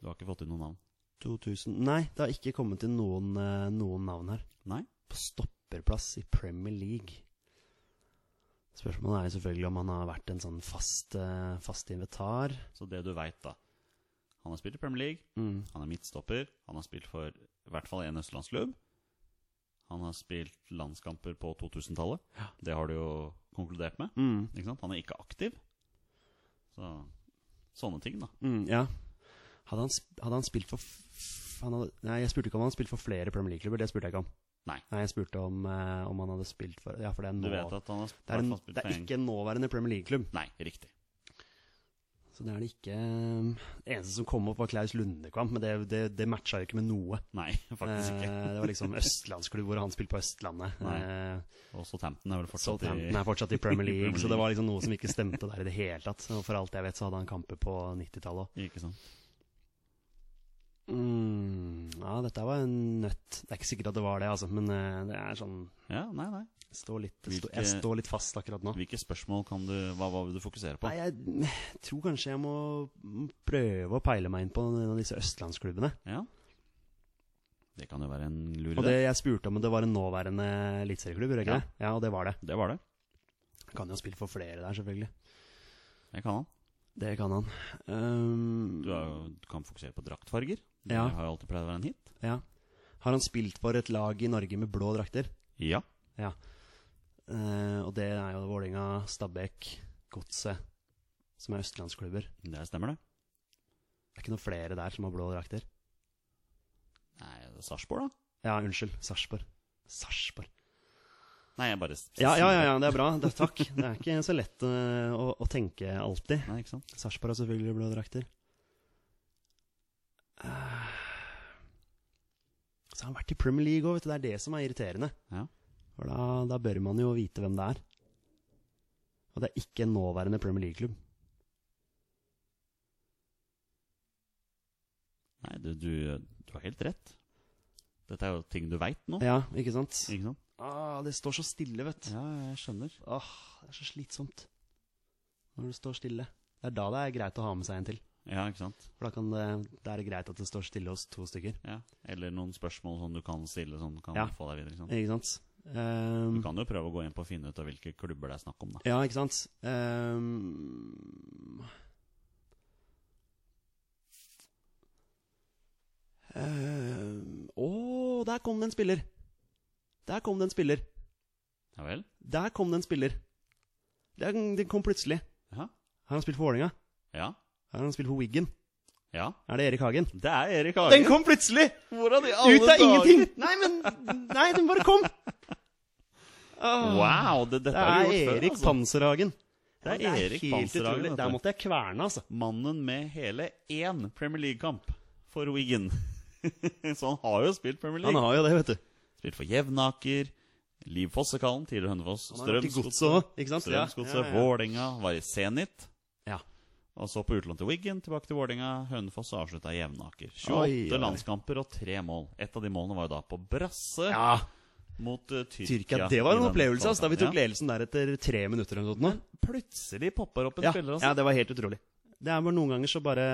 Speaker 1: Du har ikke fått inn noe navn?
Speaker 2: 2000 Nei, det har ikke kommet inn noen, eh, noen navn her.
Speaker 1: Nei?
Speaker 2: På stopperplass i Premier League. Spørsmålet er jo selvfølgelig om han har vært en sånn fast, eh, fast invitar.
Speaker 1: Så det du veit, da. Han har spilt i Premier League,
Speaker 2: Mm.
Speaker 1: han er midtstopper, han har spilt for i hvert fall en østlandsklubb. Han har spilt landskamper på 2000-tallet. Det har du jo konkludert med.
Speaker 2: Mm.
Speaker 1: Ikke sant? Han er ikke aktiv. Så sånne ting, da.
Speaker 2: Mm, ja. Hadde han, sp- hadde han spilt for f- f- han hadde, Nei, jeg spurte ikke om han hadde spilt for flere Premier League-klubber. Det spurte jeg ikke om.
Speaker 1: Nei.
Speaker 2: jeg spurte om, eh, om han hadde spilt for Ja, for det er,
Speaker 1: Du
Speaker 2: nå,
Speaker 1: vet at han har
Speaker 2: det er, en,
Speaker 1: hvertfall
Speaker 2: det er ikke en nåværende Premier League-klubb.
Speaker 1: Nei, riktig.
Speaker 2: Så det er det ikke eh, Det eneste som kom opp, var Klaus Lundekvam, men det, det, det matcha jo ikke med noe.
Speaker 1: Nei, faktisk ikke.
Speaker 2: Eh, det var liksom østlandsklubb hvor han spilte på Østlandet.
Speaker 1: Nei.
Speaker 2: Eh,
Speaker 1: Og Southampton er vel fortsatt i
Speaker 2: Southampton er fortsatt i Premier League,
Speaker 1: Premier
Speaker 2: så det var liksom noe som ikke stemte der i det hele tatt. Og for alt jeg vet, så hadde han kamper på 90-tallet òg.
Speaker 1: Ikke sant?
Speaker 2: Mm, ja, dette var en nøtt. Det er ikke sikkert at det var det, altså, men eh, det er sånn
Speaker 1: Ja, nei, nei.
Speaker 2: står litt,
Speaker 1: Hvilke-
Speaker 2: Jeg står litt fast akkurat nå.
Speaker 1: Hvilke spørsmål kan du Hva, hva vil du fokusere på?
Speaker 2: Nei, jeg tror kanskje jeg må prøve å peile meg inn på en av disse østlandsklubbene.
Speaker 1: Ja. Det kan jo være en lur
Speaker 2: Og det
Speaker 1: idé.
Speaker 2: jeg spurte om, det var en nåværende eliteserieklubb, gjorde jeg ikke
Speaker 1: Ja.
Speaker 2: det? Ja, og det var det.
Speaker 1: Det var det.
Speaker 2: Kan jo ha spilt for flere der, selvfølgelig.
Speaker 1: Det kan han.
Speaker 2: Det kan han. Ehm,
Speaker 1: Du, er, jo- du kan fokusere på draktfarger. Det
Speaker 2: Ja.
Speaker 1: har jo alltid pleid å være en hit.
Speaker 2: ja. Har han spilt for et lag i Norge med blå drakter?
Speaker 1: Ja.
Speaker 2: Ja. Eh, og det er jo Vålerenga, Stabæk, Godset, som er østlandsklubber. Det
Speaker 1: Det stemmer, det.
Speaker 2: er ikke noen flere der som har blå drakter.
Speaker 1: Nei, Sarpsborg, da?
Speaker 2: Ja, unnskyld. Sarpsborg. Sarpsborg.
Speaker 1: Nei, jeg bare s-
Speaker 2: Ja, ja,
Speaker 1: sier
Speaker 2: ja,
Speaker 1: det.
Speaker 2: ja, det er bra. Det, takk. Det er ikke så lett eh, å, å tenke alltid.
Speaker 1: Nei, ikke sant?
Speaker 2: Sarpsborg har selvfølgelig blå drakter. Eh, Så har han vært i Premier League òg, vet du. Det er det som er irriterende.
Speaker 1: Ja.
Speaker 2: For da, da bør man jo vite hvem det er. Og det er ikke en nåværende Premier League-klubb.
Speaker 1: Nei, du, du, du har helt rett. Dette er jo ting du veit nå.
Speaker 2: Ja, ikke sant?
Speaker 1: Ikke sant?
Speaker 2: Ah, det står så stille, vet du.
Speaker 1: Ja, jeg skjønner.
Speaker 2: Åh, det er så slitsomt når det står stille. Det er da det er greit å ha med seg en til.
Speaker 1: Ja, ikke sant?
Speaker 2: For da kan det, da er det greit at det står stille hos to stykker.
Speaker 1: Ja. Eller noen spørsmål som du kan stille, som kan
Speaker 2: Ja.
Speaker 1: få deg videre. Ikke sant?
Speaker 2: Ikke sant?
Speaker 1: Du
Speaker 2: Ehm,
Speaker 1: kan jo prøve å gå inn på å finne ut av hvilke klubber det er snakk om, da.
Speaker 2: ja, ikke sant? Ehm, ehm, Å, der kom det en spiller! Der kom det en spiller!
Speaker 1: Ja vel?
Speaker 2: Der kom det en spiller! Den, den kom plutselig.
Speaker 1: Ja.
Speaker 2: Har han spilt for Vålerenga?
Speaker 1: Ja.
Speaker 2: Har han spilt for Wiggen?
Speaker 1: ja.
Speaker 2: Er det Erik Hagen?
Speaker 1: Det er Erik
Speaker 2: Den
Speaker 1: Hagen.
Speaker 2: kom plutselig!
Speaker 1: Hvordan i alle
Speaker 2: Ut av
Speaker 1: dager?
Speaker 2: ingenting! Nei, men Nei, den bare kom!
Speaker 1: Wow, det, dette
Speaker 2: Det
Speaker 1: har du
Speaker 2: er
Speaker 1: gjort før.
Speaker 2: Erik
Speaker 1: Altså.
Speaker 2: Panserhagen.
Speaker 1: Det er Erik
Speaker 2: helt
Speaker 1: Panserhagen,
Speaker 2: utrolig.
Speaker 1: vet du.
Speaker 2: Der måtte jeg kverne, altså.
Speaker 1: Mannen med hele én Premier League-kamp for Wiggen. Så han har jo spilt Premier
Speaker 2: Han
Speaker 1: League.
Speaker 2: har jo det, vet du.
Speaker 1: Spilt for Jevnaker, Liv Fossekallen, tidligere Hønefoss,
Speaker 2: Han har vært i godset
Speaker 1: Strømsgodset,
Speaker 2: òg, ikke sant? Ja,
Speaker 1: Strømsgodset,
Speaker 2: ja, ja.
Speaker 1: Vålerenga, var i Zenit.
Speaker 2: Ja.
Speaker 1: Og så på utlån til Wiggen, tilbake til Vålerenga, Hønefoss og avslutta i Jevnaker. 28
Speaker 2: Oi, oi.
Speaker 1: landskamper og tre mål. Et av de målene var jo da på brasse
Speaker 2: ja,
Speaker 1: mot eh, Tyrkia.
Speaker 2: Tyrkia. Det var
Speaker 1: i
Speaker 2: en
Speaker 1: den
Speaker 2: opplevelse, altså. Da vi tok
Speaker 1: kvalkampen.
Speaker 2: ledelsen der etter tre minutter eller noe sånt. nå.
Speaker 1: Ja. Plutselig popper opp en
Speaker 2: Ja,
Speaker 1: spiller,
Speaker 2: ja,
Speaker 1: altså.
Speaker 2: det var helt utrolig. Det er bare Noen ganger så bare,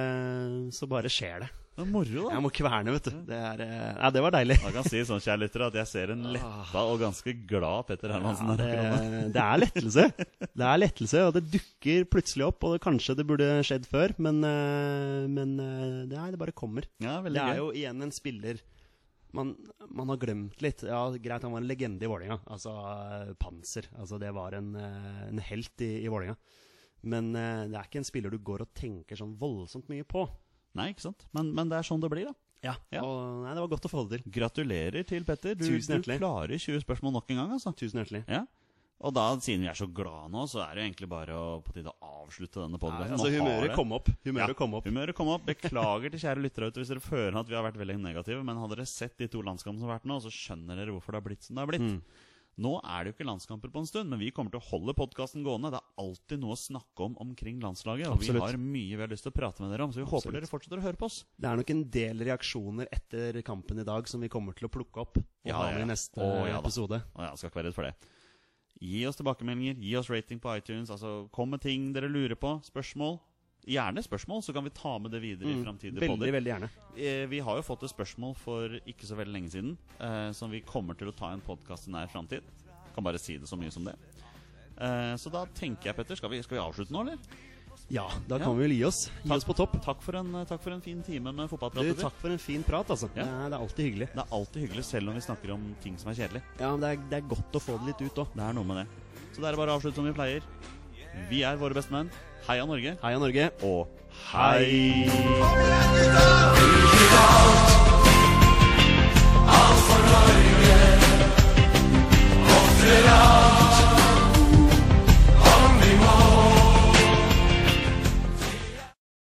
Speaker 2: så bare skjer det.
Speaker 1: Det er moro, da.
Speaker 2: Jeg må kverne, vet du. Det, er, eh, ja, det var deilig.
Speaker 1: Man kan si sånn, kjære lyttere, at jeg ser en letta og ganske glad Petter Hermansen
Speaker 2: Ja,
Speaker 1: her akkurat nå.
Speaker 2: det, det er lettelse. Det er lettelse, og det dukker plutselig opp. Og det, kanskje det burde skjedd før, men, eh, men eh, det, er, det bare kommer.
Speaker 1: Ja,
Speaker 2: Det
Speaker 1: veldig
Speaker 2: er
Speaker 1: gøy.
Speaker 2: jo igjen en spiller man, man har glemt litt. Ja, Greit, han var en legende i Vålinga. Altså eh, panser. Altså, det var en, eh, en helt i, i Vålinga. Men eh, det er ikke en spiller du går og tenker sånn voldsomt mye på.
Speaker 1: Nei, ikke sant? Men, men det er sånn det blir, da.
Speaker 2: Ja,
Speaker 1: Ja.
Speaker 2: Og, nei, Det var godt å få det til.
Speaker 1: Gratulerer til Petter. Du,
Speaker 2: Tusen
Speaker 1: du
Speaker 2: hjertelig.
Speaker 1: klarer 20 spørsmål nok en gang, altså.
Speaker 2: Tusen hjertelig.
Speaker 1: Ja. Og da, siden vi er så glad nå, så er det jo egentlig bare å, på tide å avslutte denne podkasten.
Speaker 2: altså, humøret kom opp. Humøret kom opp.
Speaker 1: Humøret kom opp. Beklager til kjære lyttere ute hvis dere føler at vi har vært veldig negative, men hadde dere sett de to landskampene som har vært nå, så skjønner dere hvorfor det har blitt som det har blitt.
Speaker 2: Mm.
Speaker 1: Nå er det jo ikke landskamper på en stund, men vi kommer til å holde podkasten gående. Det er alltid noe å snakke om omkring landslaget, og
Speaker 2: Absolutt.
Speaker 1: vi har mye vi har lyst til å prate med dere om, så vi håper
Speaker 2: Absolutt.
Speaker 1: dere fortsetter å høre på oss.
Speaker 2: Det er nok en del reaksjoner etter kampen i dag som vi kommer til å plukke opp og
Speaker 1: Ja,
Speaker 2: ha
Speaker 1: ja, ja.
Speaker 2: med i neste
Speaker 1: Å, ja da.
Speaker 2: episode.
Speaker 1: Og ja, skal ikke være redd for det. Gi oss tilbakemeldinger, gi oss rating på iTunes. Altså, Kom med ting dere lurer på. Spørsmål. Gjerne spørsmål, så kan vi ta med det videre i framtidige
Speaker 2: Mm, Veldig,
Speaker 1: podder.
Speaker 2: veldig gjerne.
Speaker 1: Eh, Vi har jo fått et spørsmål for ikke så veldig lenge siden, eh, som vi kommer til å ta i en podkast i nær framtid. Kan bare si det så mye som det. Eh, så da tenker jeg, Petter, skal vi, skal vi avslutte nå, eller?
Speaker 2: Ja, da
Speaker 1: Ja.
Speaker 2: kan vi vel gi oss. Gi oss på topp.
Speaker 1: Takk for en, takk for en fin time med
Speaker 2: Du,
Speaker 1: fotballprat. Petter.
Speaker 2: takk for en fin prat, altså.
Speaker 1: Ja.
Speaker 2: Det, er, det er alltid hyggelig.
Speaker 1: Det er alltid hyggelig, selv om vi snakker om ting som er kjedelig.
Speaker 2: Ja, men det er, det er godt å få det litt ut òg.
Speaker 1: Det er noe med det. Så det er bare å avslutte som vi pleier. Vi er våre beste menn. Heia Norge.
Speaker 2: Heia Norge.
Speaker 1: og hei!
Speaker 5: Let's go!